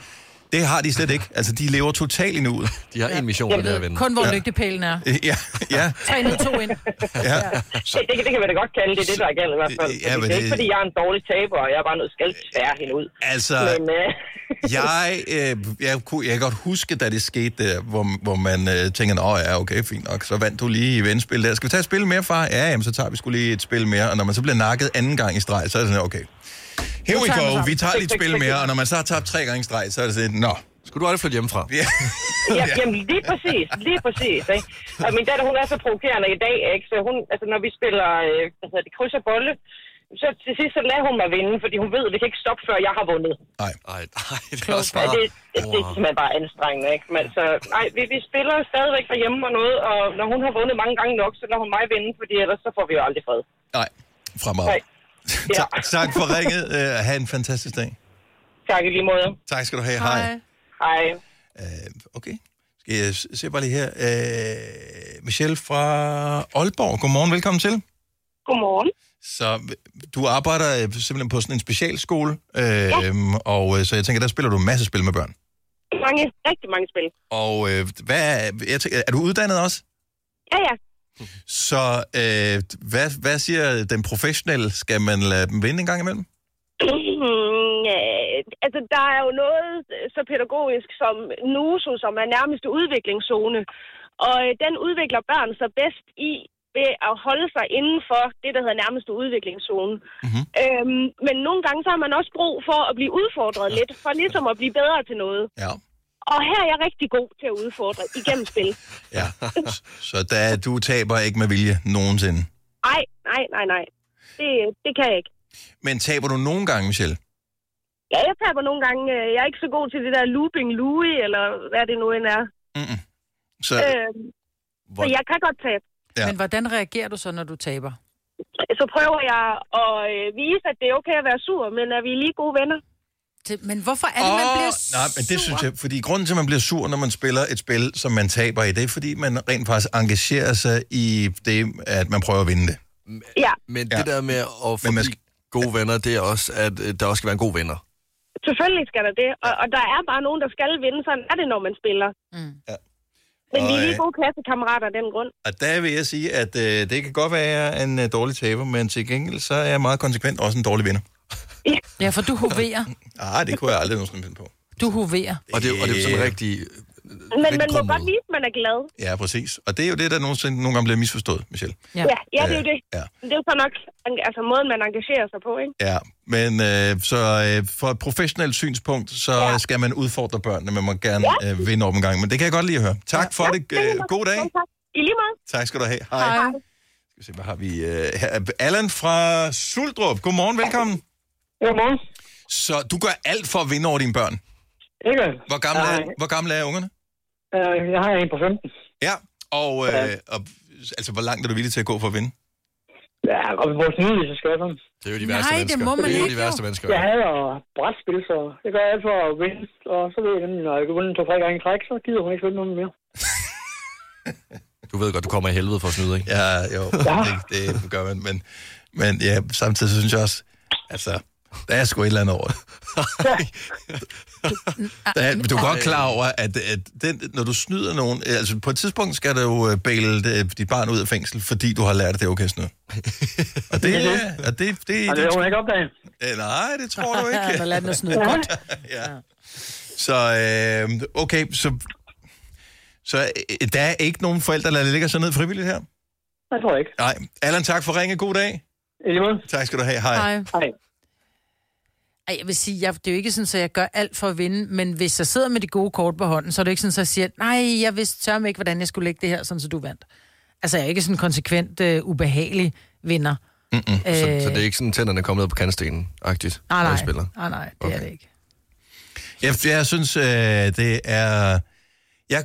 A: Det har de slet ikke. Altså, de lever totalt i nuet.
B: De har en mission,
C: Jeg ved kun, hvor lygtepælen er.
A: Ja, ja.
C: Tre ned, to ind.
A: ja.
M: Det, det, kan- det kan man da godt kalde det, det er det, der er galt i hvert fald.
A: Ja,
M: Ja,
A: men
M: det, det er ikke,
A: det-
M: fordi jeg er en dårlig taber, og jeg er bare nødt til at tvære hende ud.
A: Altså,
M: Men, øh,
A: jeg, øh, jeg, kunne, jeg kan godt huske, da det skete der, hvor, hvor man øh, tænker, nå ja, okay, fint nok, så vandt du lige i vendspil der. Skal vi tage et spil mere, far? Ja, jamen, så tager vi skulle lige et spil mere. Og når man så bliver nakket anden gang i streg, så er det sådan, okay, here
B: Nu
A: we
B: tager
A: go,
B: man
A: vi
B: sammen.
A: tager lige et
B: Tik, tik,
A: spil
B: tik,
A: mere.
B: tik.
A: Og når man så har tabt tre gange i streg, så er det sådan, nå.
B: Skulle du aldrig flytte hjemmefra?
A: Ja.
M: ja, jamen, lige præcis, lige præcis. Ikke? Og min datter, hun er så provokerende i dag, ikke? så hun, altså, når vi spiller øh, hvad hedder det, kryds og bolle, så til sidst så lader hun mig vinde, fordi hun ved, at det kan ikke stoppe, før jeg har vundet.
A: Nej.
B: Nej, nej, det er
M: Ja,
B: også bare...
M: det, det, det er simpelthen bare anstrengende, ikke? Men, så, nej, vi, vi spiller stadigvæk derhjemme og noget, og når hun har vundet mange gange nok, så lader hun mig vinde, fordi ellers så får vi jo aldrig fred.
A: Nej, fremad.
M: Nej. Ja.
A: Tak for ringet. Uh, ha' en fantastisk dag.
M: tak i lige måde.
A: Tak skal du have. Hej. Hej.
M: Hej.
A: Okay. Skal jeg s- se bare lige her. Uh, Michelle fra Aalborg. Godmorgen, velkommen til.
N: Godmorgen.
A: Så øh, du arbejder øh, simpelthen på sådan en specialskole, øh, ja. og øh, så jeg tænker, der spiller du en masse spil med børn.
N: Mange, rigtig mange spil.
A: Og øh, hvad er, jeg tænker, er du uddannet også?
N: Ja, ja.
A: Så øh, hvad, hvad siger den professionelle? Skal man lade dem vinde en gang imellem?
N: Øh, altså, der er jo noget øh, så pædagogisk som NUSO, som er nærmeste udviklingszone. Og øh, den udvikler børn sig bedst i ved at holde sig inden for det, der hedder nærmeste udviklingszone. Mm-hmm. Øhm, men nogle gange så har man også brug for at blive udfordret lidt, for ligesom at blive bedre til noget.
A: Ja.
N: Og her er jeg rigtig god til at udfordre igennem spil.
A: Ja. så der, du taber ikke med vilje nogensinde.
N: Nej, nej, nej, nej. Det, det kan jeg ikke.
A: Men taber du nogle gange, Michelle?
N: Ja, jeg taber nogle gange. øh, Jeg er ikke så god til det der looping Louis, eller hvad det nu end er.
A: Så,
N: Øh, så jeg kan godt tabe.
A: Ja.
C: Men hvordan reagerer du så, når du taber?
N: Så prøver jeg at øh, vise, at det er okay at være sur, men at vi er lige gode venner.
C: Men hvorfor er det, man bliver
A: Nej, men det synes jeg, fordi grunden til, at man bliver sur, når man spiller et spil, som man taber i, det er, fordi man rent faktisk engagerer sig i det, at man prøver at vinde det.
N: Ja,
B: Men det der med at forbi gode venner, det er også, at øh, der også skal være en god venner.
N: selvfølgelig skal der det. Og, og der er bare nogen, der skal vinde. Sådan er det, når man spiller.
C: Mm.
A: Ja.
N: Men vi er
A: Og,
N: lige
A: øh,
N: gode klassekammerater af den grund.
A: Og der vil jeg sige, at øh, det kan godt være, at jeg er en øh, dårlig taber, men til gengæld, så er jeg meget konsekvent også en dårlig vinder.
C: Ja, for du hoverer.
A: Ah, det kunne jeg aldrig nogensinde finde på.
C: Du hoverer.
B: Og det, og det er sådan
A: Øh.
B: rigtig...
N: Men man må
A: krummet.
N: godt vise, at man er glad.
A: Ja, præcis. Og det er jo det, der nogensinde, nogle gange bliver misforstået, Michelle.
N: Ja, ja, ja det er jo det.
A: Ja.
N: Men Det er jo så nok en- altså, måden, man engagerer sig på, ikke?
A: Ja, men øh, så øh, fra et professionelt synspunkt, så ja. skal man udfordre børnene, men man må gerne
N: Ja.
A: ja. øh, vinde op en gang. Men det kan jeg godt lide at høre. Tak ja. for
N: Ja,
A: det.
N: er
A: Øh,
N: godt.
A: god dag.
N: Selv tak. I lige måde.
A: Tak skal du have. Hej. Hej. Skal vi se, hvad har vi? Øh, her er Allan fra Suldrup. Godmorgen, velkommen.
H: Godmorgen.
A: Så du gør alt for at vinde over dine børn?
H: Ikke?
A: Hvor gamle, er,
H: Nej.
A: hvor gamle er ungerne?
H: Øh, jeg har en på 15.
A: Ja, og, øh, og altså, hvor langt er du villig til at gå for at vinde?
H: Ja, og vores nydelige skal jeg sådan.
B: Det er jo de
H: Nej,
B: værste
H: det
B: mennesker.
H: må man
B: det er
H: ikke,
B: jo de
H: jo.
B: værste mennesker.
H: Jeg hader brætspil, så jeg gør alt for at vinde. Og så ved jeg, nemlig, når jeg kan vinde to-tre gange i træk, så gider hun ikke vinde noget mere.
B: Du ved godt, du kommer i helvede for at snyde, ikke?
A: Ja, jo, det, det gør man, men, men ja, samtidig så synes jeg også, altså, der er sgu et eller andet over det. Der er, du er godt klar over, at, at den, når du snyder nogen, øh, altså på et tidspunkt skal du jo øh, bæle det- dit barn ud af fængsel, fordi du har lært, at det er okay at snyde. Og det,
H: Ja.
A: og det, det,
H: Og det har hun ikke opdaget.
A: Øh, Nej, det tror du ikke.
H: Så lad den at snyde
A: Ja.
H: godt.
A: ja. Så, øh, okay, så, så øh, der er ikke nogen forældre, der ligger sig ned frivilligt her?
H: Jeg tror ikke.
A: Nej. Allan, tak for ringe. God dag. Tak skal du have. Hej. Hej.
H: Hej.
C: Ej, jeg vil sige, jeg, det er jo ikke sådan, at jeg gør alt for at vinde, men hvis jeg sidder med de gode kort på hånden, så er det ikke sådan, at jeg siger, nej, jeg vidste sørme ikke, hvordan jeg skulle lægge det her, sådan så du vandt. Altså, jeg er ikke sådan en konsekvent øh, ubehagelig vinder.
B: Mm-mm. Så,
C: Øh.
B: så det er ikke sådan, tænderne kommer ned på kandstenen-agtigt,
C: Nej,
B: når I
C: nej,
B: spiller.
C: nej, nej det er det ikke.
A: Jeg, jeg synes, øh, det er... Jeg,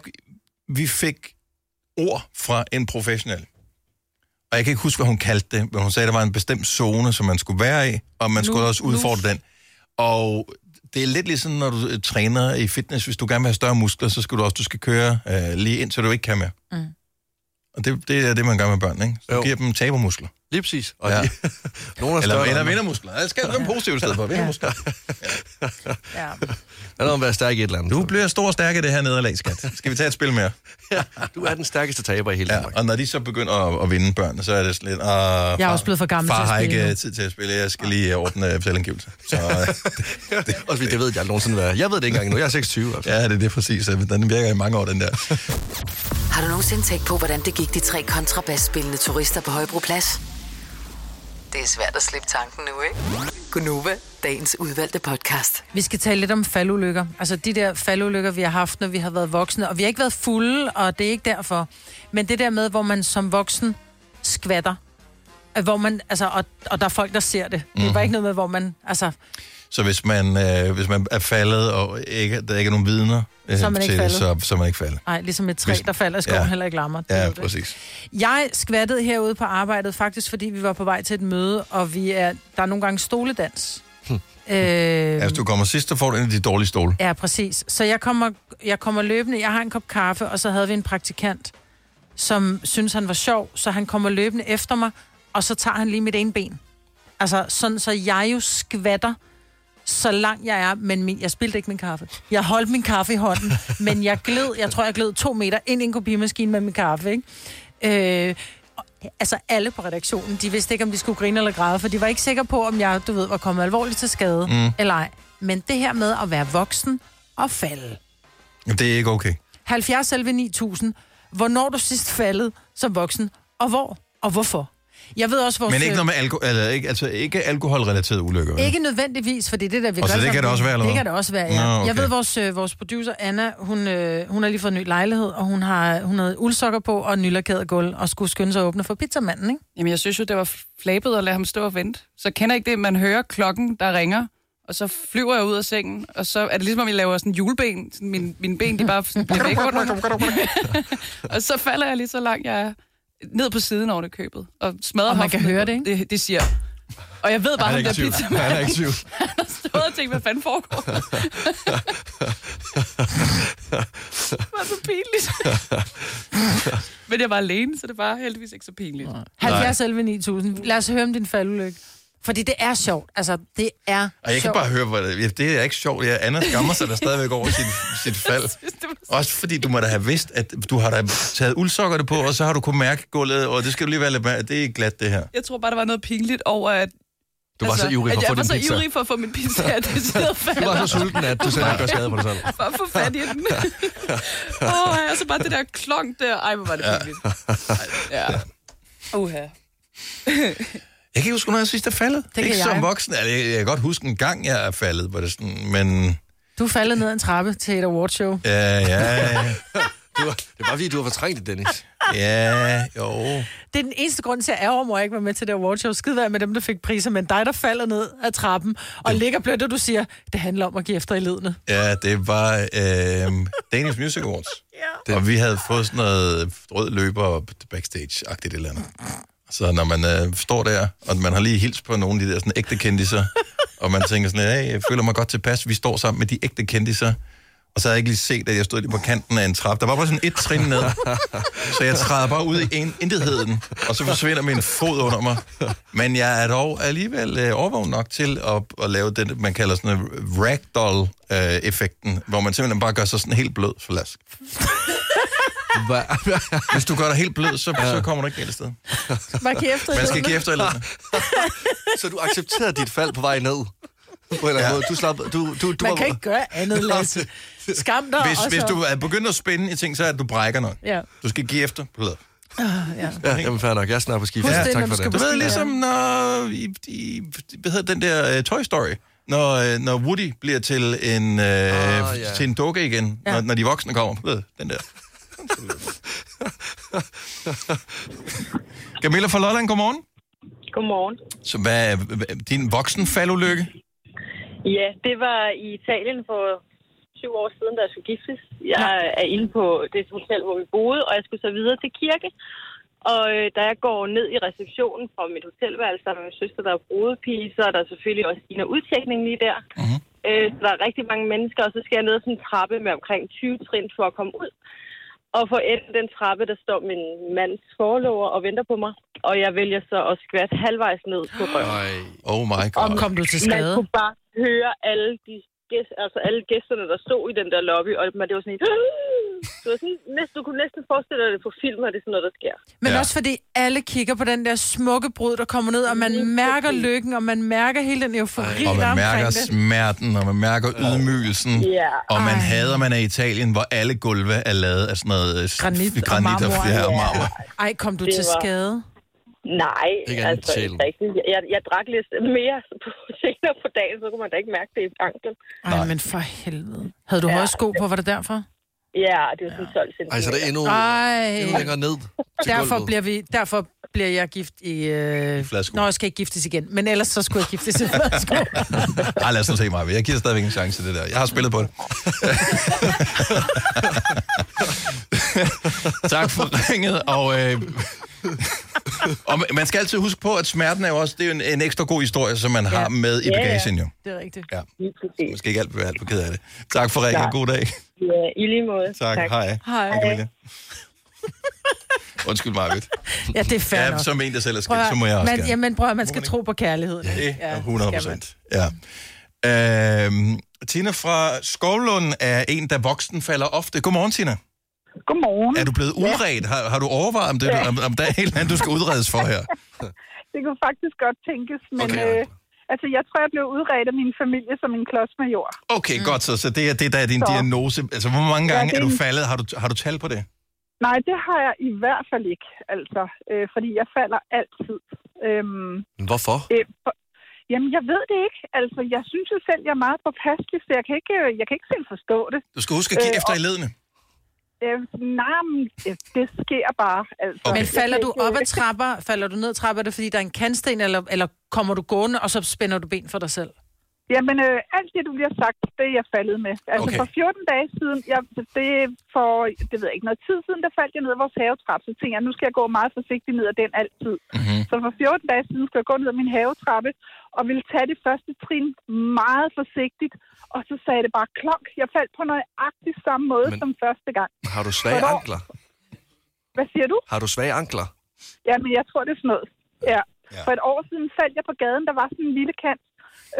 A: vi fik ord fra en professionel. Og jeg kan ikke huske, hvad hun kaldte det, men hun sagde, at der var en bestemt zone, som man skulle være i, og man skulle også udfordre den. Og det er lidt ligesom, når du øh, træner i fitness. Hvis du gerne vil have større muskler, så skal du også du skal køre øh, lige ind, så du ikke kan mere.
C: Mm.
A: Og det, det er det, man gør med børn, ikke? Så du giver dem tabermuskler.
B: Lige præcis.
A: Og ja.
B: Nogle
A: Eller,
B: er større
A: eller
B: end andre.
A: vindermuskler. Jeg skal være positivt i stedet for. Vindermuskler.
C: Ja.
B: Der er noget om at være stærk i et eller andet.
A: Du bliver stor og stærk i det her nederlag, skat. Skal vi tage et spil mere?
B: Du er den stærkeste taber i hele
A: Ja, og når de så begynder at, at vinde børnene, så er det sådan lidt... Uh, jeg
C: er også blevet for gammel
A: far
C: til at
A: har
C: spille
A: ikke
C: nu."
A: øh, tid til at spille. Jeg skal lige øh, ordne øh, selvangivelse. Så, øh, det, det,
B: og det ved jeg aldrig nogensinde, hvad Jeg ved det ikke engang nu. Jeg er 26. Altså.
A: Ja, det er det præcis. Øh, Den virker i mange år, den der.
D: Har du nogensinde tænkt på, hvordan det gik de tre kontrabasspillende turister på Højbroplads? Det er svært at slippe tanken nu, ikke? Gunova, dagens udvalgte podcast.
C: Vi skal tale lidt om faldulykker. Altså de der faldulykker, vi har haft, når vi har været voksne. Og vi har ikke været fulde, og det er ikke derfor. Men det der med, hvor man som voksen skvatter. at hvor man, altså, og, og der er folk, der ser det. Det var ikke noget med, hvor man, altså,
A: Så hvis man, øh, hvis man er faldet, og ikke, der ikke er nogen vidner øh,
C: Så er man ikke
A: til det, så,
C: faldet.
A: så er man ikke faldet.
C: ej, ligesom et træ,
A: Hvis-
C: der falder i skoven,
A: ja.
C: ja. heller ikke lammer. Det er
A: Ja,
C: jo det.
A: præcis.
C: Jeg skvattede herude på arbejdet, faktisk fordi vi var på vej til et møde, og vi er, der er nogle gange stoledans.
A: Hm.
C: Øh,
A: Ja, hvis du kommer sidst, så får du en af de dårlige stole.
C: Ja, præcis. Så jeg kommer, jeg kommer løbende, jeg har en kop kaffe, og så havde vi en praktikant, som synes han var sjov, så han kommer løbende efter mig, og så tager han lige mit ene ben. Altså, sådan så jeg jo skvatter, så lang jeg er, men min, jeg spildte ikke min kaffe. Jeg holdt min kaffe i hånden, men jeg gled, jeg tror, jeg gled to meter ind i en kopimaskine med min kaffe, ikke? Øh, og- altså alle på redaktionen, de vidste ikke, om de skulle grine eller græde, for de var ikke sikre på, om jeg, du ved, var kommet alvorligt til skade
A: Mm.
C: mm. eller ej. Men det her med at være voksen og falde.
A: Jamen, Det er ikke okay.
C: 70 selv 9000. Hvornår er du sidst faldet som voksen, og hvor, og hvorfor? Jeg ved også, hvor...
A: Men ikke noget med alko- eller, ikke, altså, ikke alkoholrelaterede ulykker. vel?
C: Ikke nødvendigvis, fordi det er der, vi
A: Og så
C: gør
A: det kan
C: sammen.
A: det også være, eller
C: Det
A: hvad?
C: kan det også være, ja.
A: Nå, okay.
C: Jeg ved, vores, øh, vores producer, Anna, hun, øh, hun har lige fået en ny lejlighed, og hun har hun havde uldsokker på og nylakeret gulv, og skulle skynde sig at åbne for pizzamanden, ikke?
O: Jamen, jeg synes jo, det var flabet at lade ham stå og vente. Så kender jeg ikke det, man hører klokken, der ringer, og så flyver jeg ud af sengen, og så er det ligesom, om jeg laver sådan en juleben. Sådan min, mine ben, de bare sådan bliver væk under mig. og så falder jeg lige så langt, jeg er ned på siden over det købet, og smadrer
C: Og man kan
O: hoften.
C: høre det, ikke?
O: Det, det siger og jeg ved bare,
C: Han er
O: at
C: ikke
O: der
C: i tvivl.
O: pizzamand.
C: Han er ikke i tvivl.
O: Han har stået og tænkt, hvad fanden foregår? der?" det var så pinligt. Men jeg var alene, så det var heldigvis ikke så pinligt.
C: 70 11 9000. Lad os høre om din faldulykke. Fordi det er sjovt. Altså, det er
A: Og jeg kan
C: sjovt.
A: bare høre, hvor ja, det er ikke sjovt. Ja, Anna skammer sig da stadigvæk over sit, sit fald. Også fordi du må da have vidst, at du har da taget uldsokkerne på, og så har du kunnet mærke gulvet, og det skal du lige være lidt med. Det er glat, det her.
O: Jeg tror bare, der var noget pinligt over, at... Altså,
A: Du var så ivrig for at
O: at
A: få
O: jeg var
A: din
O: så
A: pizza.
O: ivrig for at få min pizza, at det sidder falder.
B: Du var så sulten, at du selv ikke gør skade på dig selv.
O: For at få fat i den. Åh, oh, altså bare det der klonk der. Ej, hvor var det pinligt. Ja. Uha.
A: Jeg kan ikke huske, når jeg sidst er faldet.
C: kan
A: ikke
C: jeg.
A: som voksen. Altså, jeg, jeg kan godt huske en gang, jeg er faldet, hvor det sådan, men...
C: Du faldet ned ad en trappe til et awardshow.
A: Ja, ja, ja.
B: Du, var- det var fordi, du har fortrængt det, Dennis.
A: Ja, jo.
C: Det er den eneste grund til, at jeg ærger mig, at jeg ikke var med til det awardshow. Skide være med dem, der fik priser, men dig, der falder ned af trappen og ligger blødt, og du siger, det handler om at give efter i ledene.
A: Ja, det var øh, Danish Music Awards. ja. Og vi havde fået sådan noget rød løber backstage-agtigt et eller andet. Så når man øh, står der, og man har lige hils på nogle af de der sådan, ægte kendiser, og man tænker sådan, hey, jeg føler mig godt tilpas, vi står sammen med de ægte kendiser, og så havde jeg ikke lige set, at jeg stod lige på kanten af en trappe. Der var bare sådan et trin ned. Så jeg træder bare ud i en, intetheden, og så forsvinder min fod under mig. Men jeg er dog alligevel øh, overvågen nok til at, at lave det, man kalder sådan en ragdoll-effekten, hvor man simpelthen bare gør sig sådan helt blød for lask. Hvis du gør dig helt blød, så, så kommer du ikke galt sted.
C: Man kan efter i
A: Man skal
C: ledene.
A: give efter i ledene.
B: Så du accepterede dit fald på vej ned? På en eller anden
A: Ja.
B: måde. Du slap... Du, du, du
C: Man
B: var-
C: kan ikke gøre andet, Lasse. Skam dig
A: Hvis,
C: og
A: hvis
C: så-
A: du er begyndt at spænde i ting, så er det, at du brækker noget.
C: Ja.
A: Du skal give efter på led.
C: Ah, ja.
B: Ja, jamen fair nok. Jeg er snart på skift.
A: Husk
B: Ja,
A: det,
B: tak
A: når
B: for
A: du skal
B: det.
A: på skiferie. når... I, i, hvad hedder den der uh, Toy Story? Når, uh, når Woody bliver til en, uh, oh,
B: Ah, ja.
A: ja. til en dukke igen,
B: Ja.
A: ja. når, når de voksne kommer. Ved, den der. Camilla fra Lolland, godmorgen.
E: Godmorgen.
A: Så hvad er hvad er din voksenfaldulykke?
E: Ja, det var i Italien for syv år siden, da jeg skulle giftes. Jeg er inde på det hotel, hvor vi boede, og jeg skulle så videre til kirke. Og øh, da jeg går ned i receptionen fra mit hotelværelse, der er min søster, der er brudepige, så er der selvfølgelig også en udtjekning lige der. Mm-hmm. Øh, så der er rigtig mange mennesker, og så skal jeg ned ad sådan en trappe med omkring 20 trin for at komme ud. Og for enden af den trappe, der står min mands forlover og venter på mig. Og jeg vælger så at skvatte halvvejs ned på røven.
A: Oh my god.
C: Om kom du til
E: Man
C: skade?
E: kunne bare høre alle de gæst, altså alle gæsterne, der stod i den der lobby, og man, det var sådan en... Det var sådan, næsten, du kunne næsten forestille dig det på film, at det er sådan noget, der sker.
C: Men ja. også fordi alle kigger på den der smukke brud, der kommer ned, og man mærker lykken, og man mærker hele den eufori,
A: Og
C: der er
A: man mærker
C: omkring det.
A: smerten, og man mærker ydmygelsen.
C: Ja.
A: Og man
C: Ej.
A: hader, man er i Italien, hvor alle gulve er lavet af sådan noget... øh,
C: Granit, og
A: granit og,
C: marmor.
A: ja, og marmor.
C: Ej, kom du
E: Det
C: til
E: var-
C: skade?
E: Nej,
A: Ikke andet
E: altså
A: til.
E: ikke rigtigt. Jeg, jeg, jeg drak lidt mere på, senere på dagen, så kunne man da ikke mærke det i anklen.
C: Ej, men for helvede. Havde du høje sko på, var det derfor?
E: Ja, det er sådan 12 cm.
B: Ej, så er det endnu,
C: Ej.
B: endnu længere ned.
C: Derfor bliver, vi, derfor bliver jeg gift i... Øh...
A: flasko.
C: Nå, jeg skal ikke giftes igen. Men ellers så skulle jeg giftes i flasko.
A: Ej, lad os nu se mig. Jeg giver stadigvæk en chance til det der. Jeg har spillet på det. tak for ringet, og... Øh... og man- man skal altid huske på, at smerten er jo også det er jo en, en ekstra god historie, som man har med i bagagen jo.
C: Det er rigtigt.
A: Ja. Man skal ikke alt være alt for ked af det. Tak for ringet.
E: Nej.
A: God dag.
E: Ja, i lige måde.
A: Tak. Hej.
C: Hej.
A: Camilla. Undskyld, Marvitt.
C: Ja, det er fair
A: Ja,
C: nok.
A: som en, der selv er
C: Prøv at
A: skidt,
C: høre,
A: så må jeg også
C: man,
A: gerne.
C: Jamen, prøv at høre, man skal tro på kærlighed.
A: Det er
C: skal
A: 100
C: man.
A: procent. Ja. Øhm, Tina fra Skovlund er en, der voksen falder ofte. Godmorgen, Tina.
P: Godmorgen.
A: Er du blevet uredt? Har, har du overvejet, om, det,
P: Ja.
A: om, om der er et eller andet, du skal udredes for her?
P: Det kunne faktisk godt tænkes, men
A: Okay.
P: øh, altså, jeg tror, jeg blev udredt af min familie som en klods med jord.
A: Okay, mm. godt så. Så det er det, der er din
P: Så.
A: diagnose. Altså, hvor mange
P: Ja,
A: gange
P: det
A: er
P: er
A: du
P: en-
A: faldet? Har du, har du tal på det?
P: Nej, det har jeg i hvert fald ikke, altså, øh, fordi jeg falder altid. Øhm,
B: Hvorfor?
P: øh, for, jamen, jeg ved det ikke. Altså, jeg synes jo selv, jeg er meget påpasselig, så jeg kan ikke, øh, jeg kan ikke selv forstå det.
A: Du skal huske at kigge
P: Øh,
A: efter
P: og-
A: i ledene.
P: Øh, nej, men, øh, det sker bare, altså.
C: Men falder
P: Jeg
C: du
P: kan
C: op
P: ikke-
C: ad trapper, falder du ned ad trapper, er det fordi, der er en kantsten, eller, eller kommer du gående, og så spænder du ben for dig selv?
P: Jamen, øh, alt det, du lige har sagt, det er jeg faldet med. Altså,
C: Okay.
P: okay. for 14 dage siden, jeg, det er for, det ved jeg ikke, noget tid siden, der faldt jeg ned ad vores havetrappe. Så tænkte jeg, nu skal jeg gå meget forsigtigt ned ad den altid.
A: Mm-hmm.
P: Så for 14 dage siden skulle jeg gå ned ad min havetrappe, og ville tage det første trin meget forsigtigt. Og så sagde det bare klok. Jeg faldt på nøjagtig samme måde
B: Men-
P: Men... som første gang.
B: Har du svage
P: Hvornår?
B: ankler?
P: Hvad siger du?
B: Har du svage ankler?
P: Jamen, jeg tror, det er sådan noget. Ja.
B: Ja.
P: ja. For et år siden faldt jeg på gaden, der var sådan en lille kant,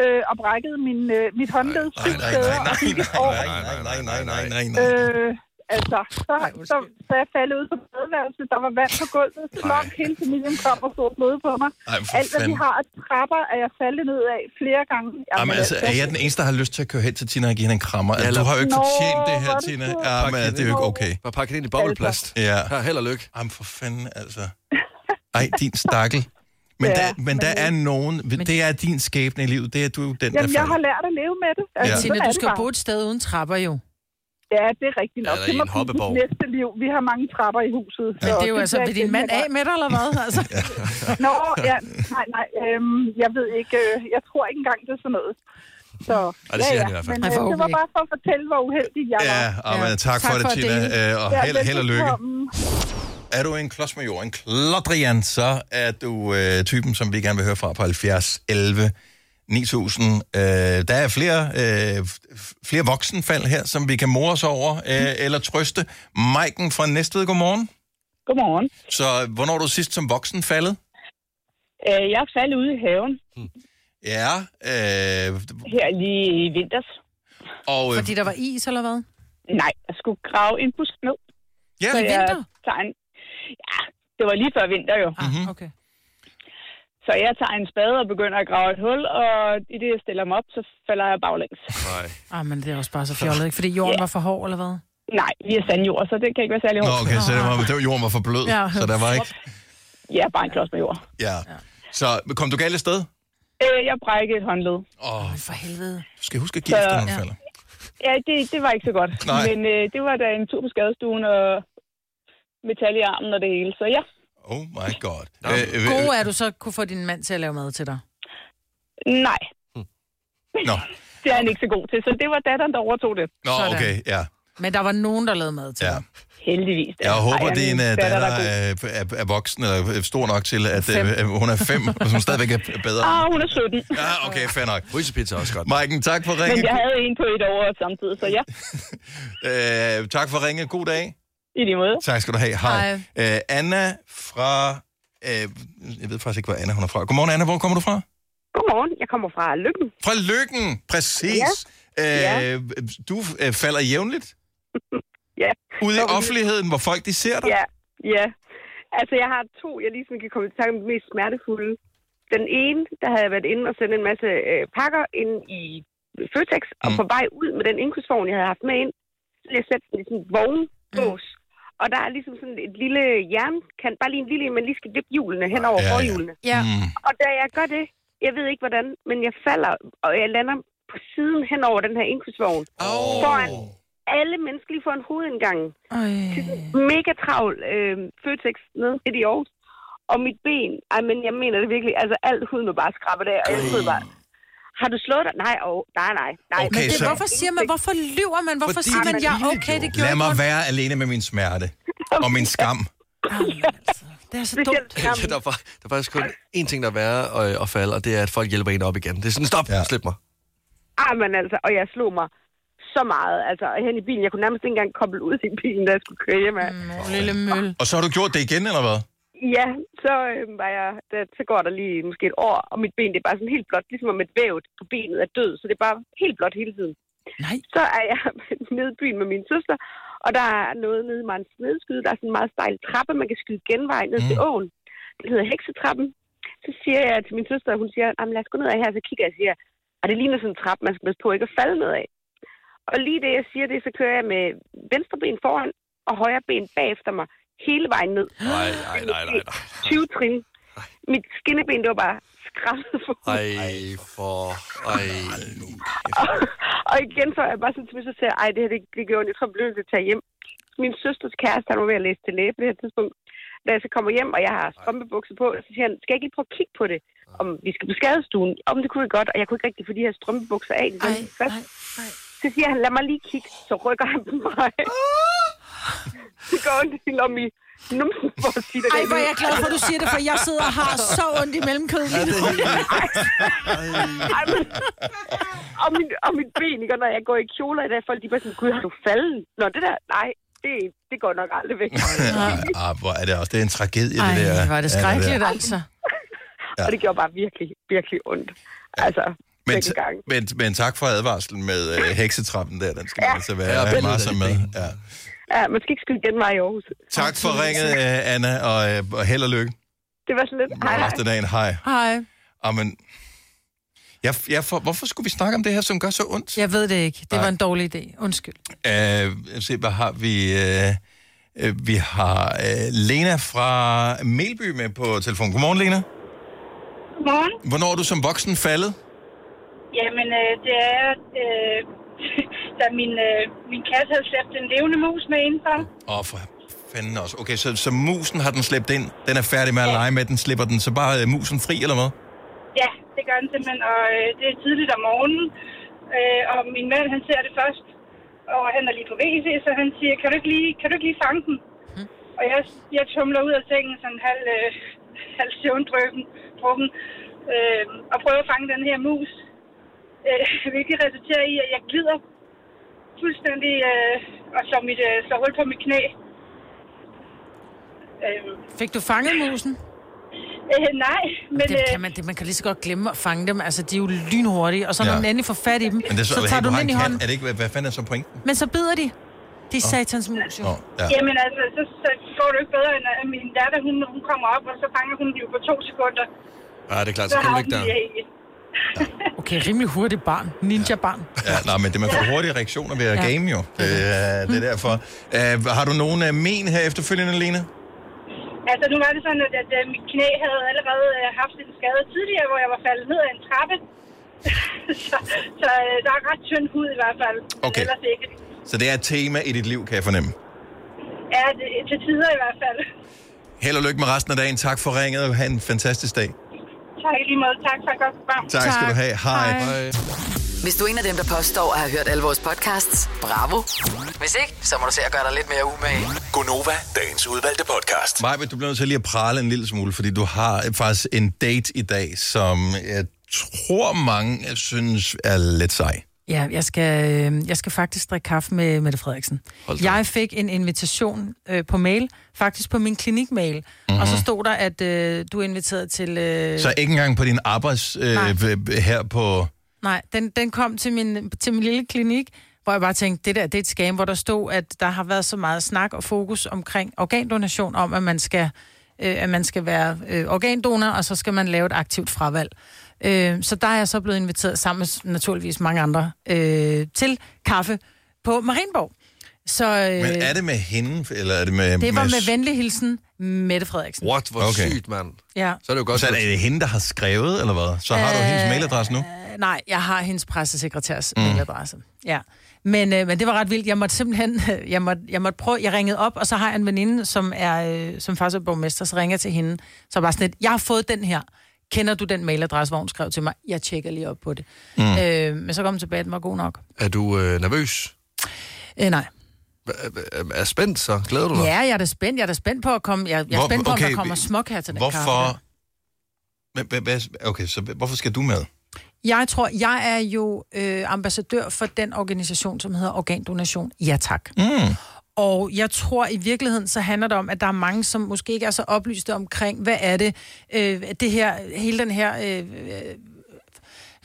P: øh, og brækkede min, øh, mit håndled syv
A: Nej, nej,
P: steder.
A: nej,
P: og fik et år.
A: nej, nej, nej, nej, nej, nej, nej.
P: Øh, altså, så, så, så jeg faldt ud på badeværelset, der var vand på gulvet, slok, hele familien kom og så blod på mig.
A: Ej, for
P: Alt, hvad vi
A: fanden.
P: har af trapper, er jeg faldet ned af flere gange.
A: Jamen, altså, er jeg den eneste, der har lyst til at køre hen til Tina og give hende en krammer? Altså,
B: eller-
A: du har jo ikke
B: Nå,
A: fortjent det
B: hvor
A: her,
B: er du
A: Tina.
B: sød.
A: Jamen, altså, det er jo ikke okay.
B: Bare pakke det ind i bobleplast.
A: Ja.
B: Her, held og lykke.
A: Jamen, for fanden, altså. Ej, din stakkel. Men, ja,
P: Ja,
A: der, men, men
P: men-
A: der er nogen... Det er din skæbne i livet. Det er du er den,
P: Jamen,
A: der
P: jeg
A: falder.
P: har lært at leve med det. Altså,
A: Ja.
P: sådan
C: Tina,
P: er
C: du
P: det
C: skal
P: bare.
C: bo et sted uden trapper jo.
P: Ja, det er rigtigt nok.
A: Eller
P: det
A: i
P: må
A: en
P: blive
A: hoppeborg.
P: mit næste liv. Vi har mange trapper i huset.
C: Men det er jo altså, vil din mand af med dig, eller hvad? Altså.
P: Nå, ja, nej, nej, øhm, jeg ved ikke, øh, jeg tror ikke engang, det er sådan noget. Så,
A: det siger han i hvert fald.
P: Men,
A: Jeg
P: øh,
A: forhåbentlig
P: det var bare for at fortælle, hvor uheldig jeg var.
A: Ja, og, men, tak, tak for det, Tina. Øh, og held, held og lykke.
P: velbekomme.
A: Er du en klodsmajor, en klodrian, så er du øh, typen, som vi gerne vil høre fra på 70 11 9000. Øh, der er flere, øh, f- flere voksenfald her, som vi kan more os over øh, eller trøste. Maiken fra Næstved, godmorgen.
Q: Godmorgen.
A: Så hvornår er du sidst som voksen faldet?
Q: Øh, jeg er faldet ude i haven
A: Ja, øh,
Q: her lige i vinters.
A: og... Øh,
Q: Fordi
C: der var is, eller hvad?
Q: Nej, jeg skulle grave en busk ned.
A: Ja.
Q: Så
A: I
Q: jeg
A: vinter?
Q: Tager en... Ja, det var lige før vinter jo.
C: Ah, okay.
Q: Så jeg tager en spade og begynder at grave et hul, og i det, jeg stiller mig op, så falder jeg baglæns.
B: Nej.
C: Ah, men det er også bare så fjollet, ikke? Fordi jorden var for hård, eller hvad?
Q: Nej, vi er sandjord, så det kan ikke være særlig
A: Nå,
Q: hårdt.
A: okay, så det var, det var, jorden var for blød,
Q: Ja.
A: så der var ikke...
Q: Ja, bare en klods med jord.
A: Ja. Så kom du galt af sted?
Q: Øh, jeg brækkede et håndled.
A: Åh,
C: For helvede.
A: du skal huske at give efter, når du
Q: Så-
A: falder.
Q: Ja, det, det var ikke så godt.
A: Nej.
Q: Men øh, det var da en tur på skadestuen og metal i armen og det hele, så ja.
A: Oh my god. Øh, øh,
C: God er du så kunne få din mand til at lave mad til dig.
Q: Nej,
A: Nå,
Q: det er han ikke så god til, så det var datteren, der overtog det.
A: Nå okay, ja.
C: Men der var nogen, der lavede mad til
A: Ja.
C: dig.
Q: Heldigvis.
A: Jeg håber,
Q: Ej,
A: din uh,
Q: min
A: datter
Q: datter, der er
A: er, er, er voksen eller er stor nok til, at
Q: Fem.
A: uh, hun er fem, og som stadigvæk er bedre.
Q: Ah, hun er 17.
A: Ja, okay, fair nok. Frysepizza er også godt. Maiken, tak for
Q: Men
A: ringen.
Q: jeg havde en på et år samtidig, så ja,
A: Øh, tak for ringe. God dag.
Q: i lige måde.
A: Tak skal du have. Hej. Øh, Anna fra... Øh, jeg ved faktisk ikke, hvor Anna hun er fra. Godmorgen, Anna. Hvor kommer du fra?
R: Godmorgen, jeg kommer fra Lykken.
A: Fra Lykken, præcis. Øh,
R: Ja.
A: du øh, falder jævnligt
R: Ja.
A: ude i
R: Når vi-
A: offentligheden, hvor folk de ser dig.
R: Ja, ja. Altså, jeg har to, jeg lige sådan kan komme i tanke om de mest smertefulde. Den ene, der havde jeg været inde og sendt en masse øh, pakker ind i Føtex, mm. og på vej ud med den indkøbsvogn, jeg havde haft med ind, så ville jeg sætte den i sådan en vognbås. Mm. Og der er ligesom sådan et lille jernkant, bare lige en lille, en, man lige skal vippe hjulene hen over
S: Ja,
R: ja,
S: ja.
R: forhjulene.
C: Ja.
A: Mm.
R: Og da jeg gør det, jeg ved ikke hvordan, men jeg falder, og jeg lander på siden hen over den her indkøbsvogn. Oh. Foran alle mennesker lige foran hovedindgangen. Mega travl øh, Føtex nede midt i Aarhus. Og mit ben, ej, men jeg mener det virkelig, altså alt huden var bare skrabet af, og jeg stod bare, har du slået dig? Nej, oh, nej, nej, nej.
A: Okay, Men det er så-
C: Hvorfor siger man, hvorfor lyver man? Hvorfor
A: Fordi
C: siger man,
A: det
C: ja,
A: er pinligt,
C: okay, det gjorde
A: Lad
C: jeg
A: mig
C: godt.
A: være alene med min smerte og min skam.
C: Det er så dumt.
B: Ja, der, er, fa- der er faktisk kun én ting, der er værre øh, at falde, og det er, at folk hjælper en op igen. Det er sådan, stop, ja. slip mig.
R: Ej, men altså, og jeg slog mig så meget, altså hen i bilen. Jeg kunne nærmest ikke engang koble ud i bilen, da jeg skulle køre hjem af.
C: Mm, lille møl.
A: Og så har du gjort det igen, eller hvad?
R: Ja, så øh, var jeg, der, så går der lige måske et år, og mit ben det er bare sådan helt blåt, ligesom om et vævet på benet er død, så det er bare helt blåt hele tiden.
C: Nej.
R: Så er jeg nede i byen med min søster, og der er noget nede i Marens Nedskyde, der er sådan en meget stejl trappe, man kan skyde genvej ned
B: Mm.
R: til åen. Den hedder Heksetrappen. Så siger jeg til min søster, og hun siger, "Jamen, lad os gå ned af her, så kigger jeg og siger, og det ligner sådan en trappe, man skal passe på ikke at falde ned af. Og lige det, jeg siger det, så kører jeg med venstre ben foran og højre ben bagefter mig hele vejen ned.
B: Nej, nej, nej, nej.
R: 20 trin. Mit skinneben, det var bare skræmmet for
B: Ej, for... Ej.
R: og, og igen så er jeg bare sådan til mig, så siger jeg, ej, det her, det, det gjorde ondt. jeg tror, jeg blev nødt til at tage hjem. Min søsters kæreste, han var ved at læse til læge på det her tidspunkt. Da jeg så kommer hjem, og jeg har strømpebukser på, så siger han, skal jeg ikke lige prøve at kigge på det? Om vi skal på skadestuen? Om det kunne vi godt, og jeg kunne ikke rigtig få de her strømpebukser af. Det ej, ej, ej. Så siger han, lad mig lige kigge. Så rykker han på mig.
C: Ah!
R: så går han helt om i numsen for at sige det.
C: Ej, hvor er jeg glad for, at du siger det, for jeg sidder og har så ondt i mellemkødet lige nu.
R: Ej, men, og, min, og mit ben, ikke? Og når jeg går i kjoler i dag, folk de er bare sådan, gud, har du faldet? Nå, det der, nej, det, det går nok aldrig væk.
A: Ah, hvor er det også. Det er en tragedie,
R: Ej,
A: det der.
R: hvor er det
A: Ja,
R: skrækkeligt,
A: der.
R: altså. Og det gjorde bare virkelig, virkelig ondt. Altså,
A: Men,
R: begge gange.
A: men, men tak for advarslen med øh, heksetrappen der. Den skal man
R: Ja.
A: altså
R: Ja,
A: være ja,
R: billedet
A: meget
R: af
A: som
R: dit
A: med. Ja.
R: Ja, man skal ikke skyde genvej i Aarhus.
A: Tak for ringet, øh, Anna, og, øh, og held og lykke.
R: Det var så lidt. Hej,
A: Hej.
R: hej.
A: Resten af dagen, hej.
C: Hej.
A: Amen. Jeg, jeg for, hvorfor skulle vi snakke om det her, som gør så ondt?
C: Jeg ved det ikke. Det
A: Nej.
C: var en dårlig idé. Undskyld.
A: Øh, lad os se, hvad har vi? Øh, øh, vi har øh, Lena fra Melby med på telefon. Godmorgen, Lena.
P: Godmorgen.
A: Hvornår er du som voksen faldet?
P: Jamen, øh, det er, øh, da min, øh, min kat havde slæbt en levende mus med indenfor.
A: Åh, oh, for fanden også. Okay, så, så musen har den slæbt ind. Den er færdig med at lege med. Den slipper den så bare øh, musen fri, eller hvad?
P: Ja, det gør den simpelthen, og øh, det er tidligt om morgenen. Øh, og min mand, han ser det først, og han er lige på WC, så han siger, kan du ikke lige, kan du ikke lige fange den? Og jeg, jeg tumler ud af sengen, sådan halv, øh, halv søvndrøben, drukken, øh, og prøver at fange den her mus. Øh, hvilket resulterer i, at jeg glider fuldstændig øh, og slår, mit, øh, slår hul på mit knæ. Øh,
C: Fik du fanget musen?
P: øh, nej, men...
C: Men, det kan man, det, man kan lige så godt glemme at fange dem. Altså, de er jo lynhurtige, og så når
A: Ja.
C: man endelig får fat i dem,
A: Men det er så,
C: så tager du
A: har
C: dem ind i
A: en kat.
C: hånden.
A: Er det ikke, hvad, hvad fanden er så pointen?
C: Men så bider de. De er satans mus, jo.
A: Nå, ja.
P: Jamen altså, så, så går det jo ikke bedre, end at min datter, hun, hun kommer op, og så fanger hun den jo på to sekunder.
A: Ja, det er
P: så har hun det ikke.
C: Okay, rimelig hurtigt barn. Ninja-barn.
A: Ja, nej, men det, man får hurtige reaktioner ved at
C: Ja.
A: game jo. Det, øh, det er derfor. Uh, har du nogen uh, men her efterfølgende, Lena?
P: Altså, nu var det sådan, at, at, øh, mit knæ havde allerede øh, haft en skade tidligere, hvor jeg var faldet ned ad en trappe. så så øh, der er ret tynd hud i hvert fald. men
A: Okay.
P: Ellers ikke.
A: Så det er et tema i dit liv, kan jeg fornemme.
P: Ja, det, til tider i hvert fald.
A: Held og lykke med resten af dagen. Tak for ringet, og have en fantastisk dag.
P: Tak i lige måde. Tak for et godt program.
A: Tak, tak. skal du have. Hej. Hej.
D: Hvis du er en af dem, der påstår at have hørt alle vores podcasts, bravo. Hvis ikke, så må du se at gøre dig lidt mere umage.
E: Gonova, dagens udvalgte podcast.
A: Maja, du bliver nødt til lige at prale en lille smule, fordi du har øh, faktisk en date i dag, som jeg tror mange øh, synes er lidt sej.
C: Ja, jeg skal, øh, jeg skal faktisk drikke kaffe med Mette Frederiksen. Jeg fik en invitation øh, på mail, faktisk på min klinikmail, mm-hmm. og så stod der, at øh, du er inviteret til... Øh,
A: Mhm. Så ikke engang på din arbejds øh, øh, her på...
C: Nej, den, den kom til min, til min lille klinik, hvor jeg bare tænkte, det der, det er et scam, hvor der stod, at der har været så meget snak og fokus omkring organdonation, om at man skal, øh, at man skal være øh, organdonor, og så skal man lave et aktivt fravalg. Øh, så der er jeg så blevet inviteret sammen med s- naturligvis mange andre øh, til kaffe på Marienborg. Så øh,
A: Men er det med hende, eller er det med...
C: det var med venlig hilsen, Mette Frederiksen.
A: What, hvor okay. sygt, mand.
C: Ja. Øh,
A: Så er det jo godt. Så er det hende, der har skrevet, eller hvad? Så har du hendes mailadresse nu?
C: nej, jeg har hendes pressesekretærs
G: Mm.
C: mm. mailadresse. Ja. Men, øh, men det var ret vildt. Jeg måtte simpelthen, jeg måtte, jeg måtte prøve, jeg ringede op, og så har jeg en veninde, som er, øh, som faktisk er borgmester, så ringer jeg til hende. Så bare sådan lidt, jeg har fået den her. Kender du den mailadresse, hvor hun skrev til mig? Jeg tjekker lige op på det.
B: Mm.
C: Mm. Øh, men så kom den tilbage, den var god nok.
B: Er du øh, nervøs?
C: Øh, nej.
B: Er, er, er spændt så? Glæder du dig?
C: Ja, jeg er da spændt. Jeg er da spændt på at komme, jeg, jeg er
A: Hvor-
C: spændt på, okay, om
A: okay,
C: der kommer
A: vi-
C: smuk her til den kaffe. der.
A: Hvorfor... Men, hvad- hvad- Okay, så hvorfor skal du med?
C: Jeg tror, jeg er jo øh, ambassadør for den organisation, som hedder Organdonation. Ja, tak.
A: Mm.
C: Og jeg tror i virkeligheden, så handler det om, at der er mange, som måske ikke er så oplyste omkring, hvad er det, øh, det her, hele den her... Øh, øh,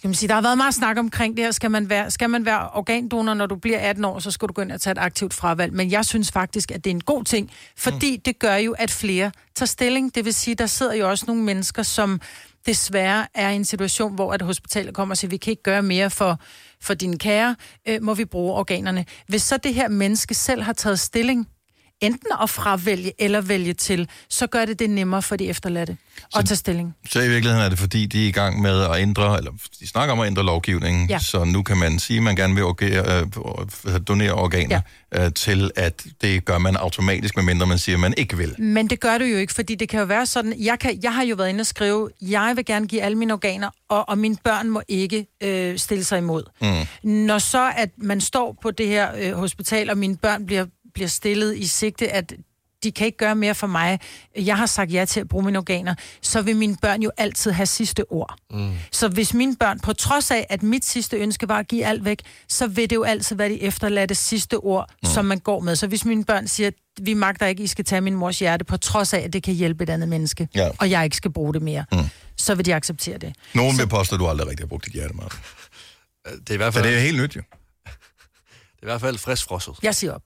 C: kan man sige, der har været meget snak omkring det her. Skal man, være, skal man være organdonor, når du bliver 18 år, så skal du gå ind og tage et aktivt fravalg. Men jeg synes faktisk, at det er en god ting, fordi det gør jo, at flere tager stilling. Det vil sige, der sidder jo også nogle mennesker, som desværre er i en situation, hvor at hospitalet kommer og siger, vi kan ikke gøre mere for, for dine kære, øh, må vi bruge organerne. Hvis så det her menneske selv har taget stilling, enten at fravælge eller vælge til, så gør det det nemmere for de efterladte at tage stilling.
A: Så i virkeligheden er det, fordi de er i gang med at ændre, eller de snakker om at ændre lovgivningen,
C: Ja.
A: så nu kan man sige, at man gerne vil orgere, øh, øh, donere organer ja. øh, til, at det gør man automatisk, medmindre man siger, at man ikke vil.
C: Men det gør du jo ikke, fordi det kan jo være sådan, jeg, kan, jeg har jo været inde og skrive, jeg vil gerne give alle mine organer, og, og mine børn må ikke øh, stille sig imod.
G: Mm.
C: Når så, at man står på det her øh, hospital, og mine børn bliver, bliver stillet i sigte, at de kan ikke gøre mere for mig, jeg har sagt ja til at bruge mine organer, så vil mine børn jo altid have sidste ord.
G: Mm.
C: Så hvis mine børn, på trods af, at mit sidste ønske var at give alt væk, så vil det jo altid være de efterladte sidste ord, mm. som man går med. Så hvis mine børn siger, at vi magter ikke, I skal tage min mors hjerte, på trods af, at det kan hjælpe et andet menneske,
A: Ja.
C: og jeg ikke skal bruge det mere,
A: Mm.
C: så vil de acceptere det.
A: Nogen vil påstå, at du aldrig rigtig har brugt dit hjerte meget. Det
B: er i hvert fald...
A: det er helt nyt, jo.
B: Det er i hvert fald friskfrosset.
C: Jeg siger op.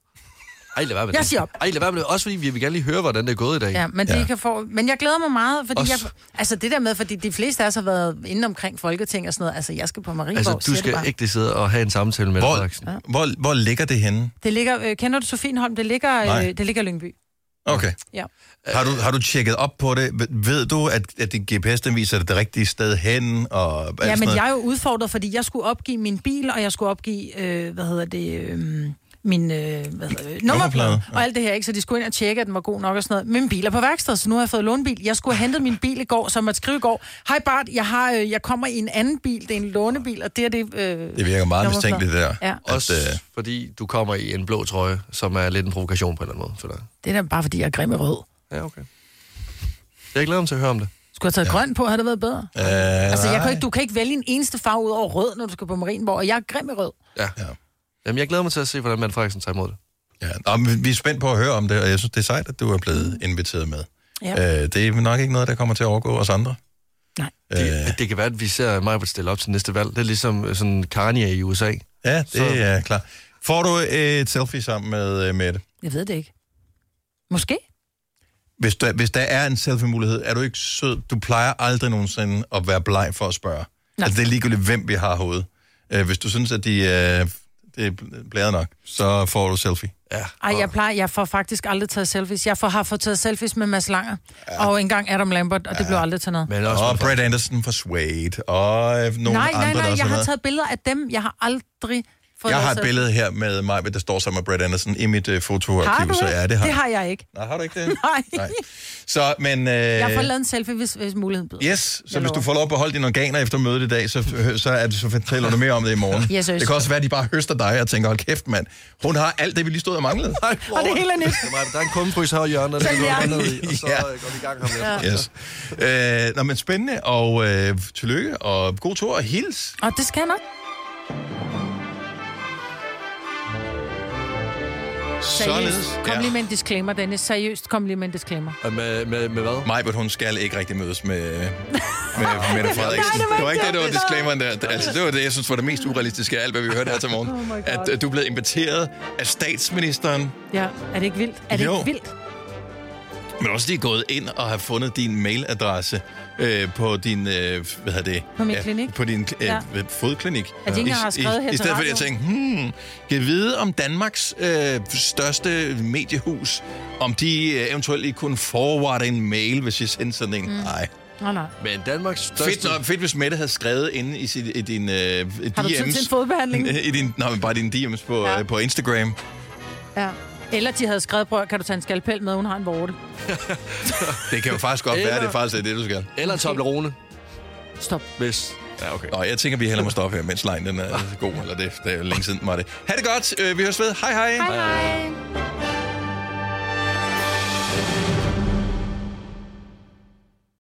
B: Ej, lad være med
C: Jeg
B: det.
C: siger op.
B: Ej, lad være med det. Også fordi vi vil gerne lige høre, hvordan det er gået i dag.
C: Ja, men, ja. Det kan få, men jeg glæder mig meget, fordi
B: Også-
C: jeg, altså det der med, fordi de fleste af os har været inde omkring Folketing og sådan noget, altså jeg skal på Marienborg,
B: Altså, du
C: siger det
B: skal
C: bare.
B: ikke sidde og have en samtale med
A: Hvor,
B: Frederiksen.
A: hvor, hvor ligger det henne?
C: Det ligger, øh, kender du Sofienholm? Det ligger,
A: Nej.
C: øh, det ligger i Lyngby.
A: Okay.
C: Ja.
A: Har du, har du tjekket op på det? Ved- Ved du, at, at din GPS den viser det, det rigtige sted hen? Og alt
C: Ja,
A: sådan
C: men
A: noget?
C: jeg er jo udfordret, fordi jeg skulle opgive min bil, og jeg skulle opgive, øh, hvad hedder det, øh, min øh, hvad hedder det, nummerplade, og alt det her, ikke? så de skulle ind og tjekke, at den var god nok og sådan noget. Men min bil er på værksted, så nu har jeg fået lånebil. Jeg skulle have hentet min bil i går, som at skrive i går, hej Bart, jeg, har, øh, jeg kommer i en anden bil, det er en lånebil, og det er det... Øh,
A: Det virker meget
C: nummerplade.
A: mistænkeligt, det der. øh,
C: Ja.
B: Også fordi du kommer i en blå trøje, som er lidt en provokation på en eller anden måde for dig.
C: Det er da bare, fordi jeg er grim i rød.
B: Ja, okay. Jeg glæder mig til at høre om det.
C: Skulle jeg have taget ja. grøn på, havde det været bedre.
B: Øh,
C: altså, jeg
B: nej.
C: kan ikke, du kan ikke vælge en eneste farve ud over rød, når du skal på Marienborg, og jeg er grim i rød.
B: Ja.
A: ja.
B: Jamen, jeg glæder mig til at se, hvordan Mette Frederiksen tager imod det.
A: Ja, og vi- vi er spændt på at høre om det, og jeg synes, det er sejt, at du er blevet inviteret med.
C: Mm. Ja.
A: Ja. Øh, det er nok ikke noget, der kommer til at overgå os andre.
B: Det, det kan være, at vi ser mig på stille op til næste valg. Det er ligesom øh, sådan Kanye i USA.
A: Ja, det så. er klart. Får du et selfie sammen med øh, Mette?
C: Jeg ved det ikke. Måske.
A: Hvis der, hvis der er en selfie-mulighed, er du ikke sød? Du plejer aldrig nogensinde at være bleg for at spørge. Nej. Altså, det er ligegyldigt, hvem vi har herude. Øh, hvis du synes, at de, øh, det er blæret nok, så får du selfie.
B: Ja.
C: Ej, jeg plejer, jeg får faktisk aldrig taget selfies. Jeg får, har fået taget selfies med Mads Langer, ja. og engang Adam Lambert, og det blev aldrig til noget.
A: Men også og Brad Anderson fra Suede, og øh, nogle
C: nej,
A: andre,
C: nej,
A: der
C: nej,
A: også
C: jeg
A: har
C: har
A: været.
C: taget billeder af dem. Jeg har aldrig fået
A: Jeg
C: noget
A: har et
C: selfie.
A: billede her med mig, der står sammen med Brad Anderson i mit øh,
C: Har du
A: fotoarkiv, så ja, det
C: det
A: har,
C: det har jeg ikke.
A: Nej, har du ikke det?
C: Nej.
A: Nej. Så, men... Øh,
C: Jeg får lavet en selfie, hvis, hvis muligheden byder.
A: Yes, så
C: Jeg
A: hvis
C: lover.
A: du får lov at beholde dine organer efter mødet i dag, så, øh, så, er det, så fortæller du mere om det i morgen.
C: Yes, yes.
A: det kan også være, at de bare høster dig og tænker, hold kæft mand, hun har alt det, vi lige stod og manglede.
B: Nej,
C: Og det hele er nyt.
B: Det er mig, der er en kummefrys her i hjørnet, der
A: Sådan er
B: går
A: det.
B: ned i, og så øh,
A: Ja.
B: ja. går vi i gang her med.
C: Ja.
A: Yes. Øh, nå, men spændende, og øh, tillykke, og god tur og hils.
C: Og det skal jeg nok. Seriøst, kom lige med en disclaimer, Dennis. Seriøst, kom lige Øh, med en disclaimer.
B: Med, med, med hvad?
A: Majbert, hun skal ikke rigtig mødes med, med Mette Frederiksen.
C: Nej, det var
A: det var ikke det,
C: ikke
A: der var
C: det.
A: disclaimeren der. Altså, det var det, jeg synes var det mest urealistiske af alt, hvad vi hørte her til morgen.
C: Oh my God.
A: at øh, du blev inviteret af statsministeren
C: Ja, er det ikke vildt? Er det
A: Jo.
C: ikke vildt?
A: Men også lige gået ind og har fundet din mailadresse øh, på din, øh, hvad hedder det?
C: På min
A: Ja,
C: klinik.
A: På din øh,
C: Ja.
A: ja. fodklinik.
C: At de ikke engang har skrevet her
A: I,
C: til
A: i stedet for at jeg
C: radioen.
A: tænkte, hmm, kan jeg vide om Danmarks øh, største mediehus, om de øh, eventuelt ikke kunne forwarde en mail, hvis jeg sendte sådan en?
C: Mm.
A: Nej.
C: Nå, nej.
B: Men Danmarks største...
A: Fedt, når, fedt, hvis Mette havde skrevet inde i, sit, i din øh, DM's.
C: Har du tid til en fodbehandling?
A: I din, nej, men bare din DM's på, ja. øh, på Instagram.
C: Ja. Eller de havde skrevet, prøv, kan du tage en skalpel med, hun har en vorte.
A: Det kan jo faktisk godt være,
B: Eller-
A: det er faktisk det, du skal.
B: Eller Toblerone.
C: Stop.
B: Hvis.
A: Ja, okay. Nå, jeg tænker, vi heller må stoppe her, mens lejen den er god, eller det, det er jo længe siden, den var det. Ha' det godt, øh, vi høres ved. Hej hej.
C: Hej, hej.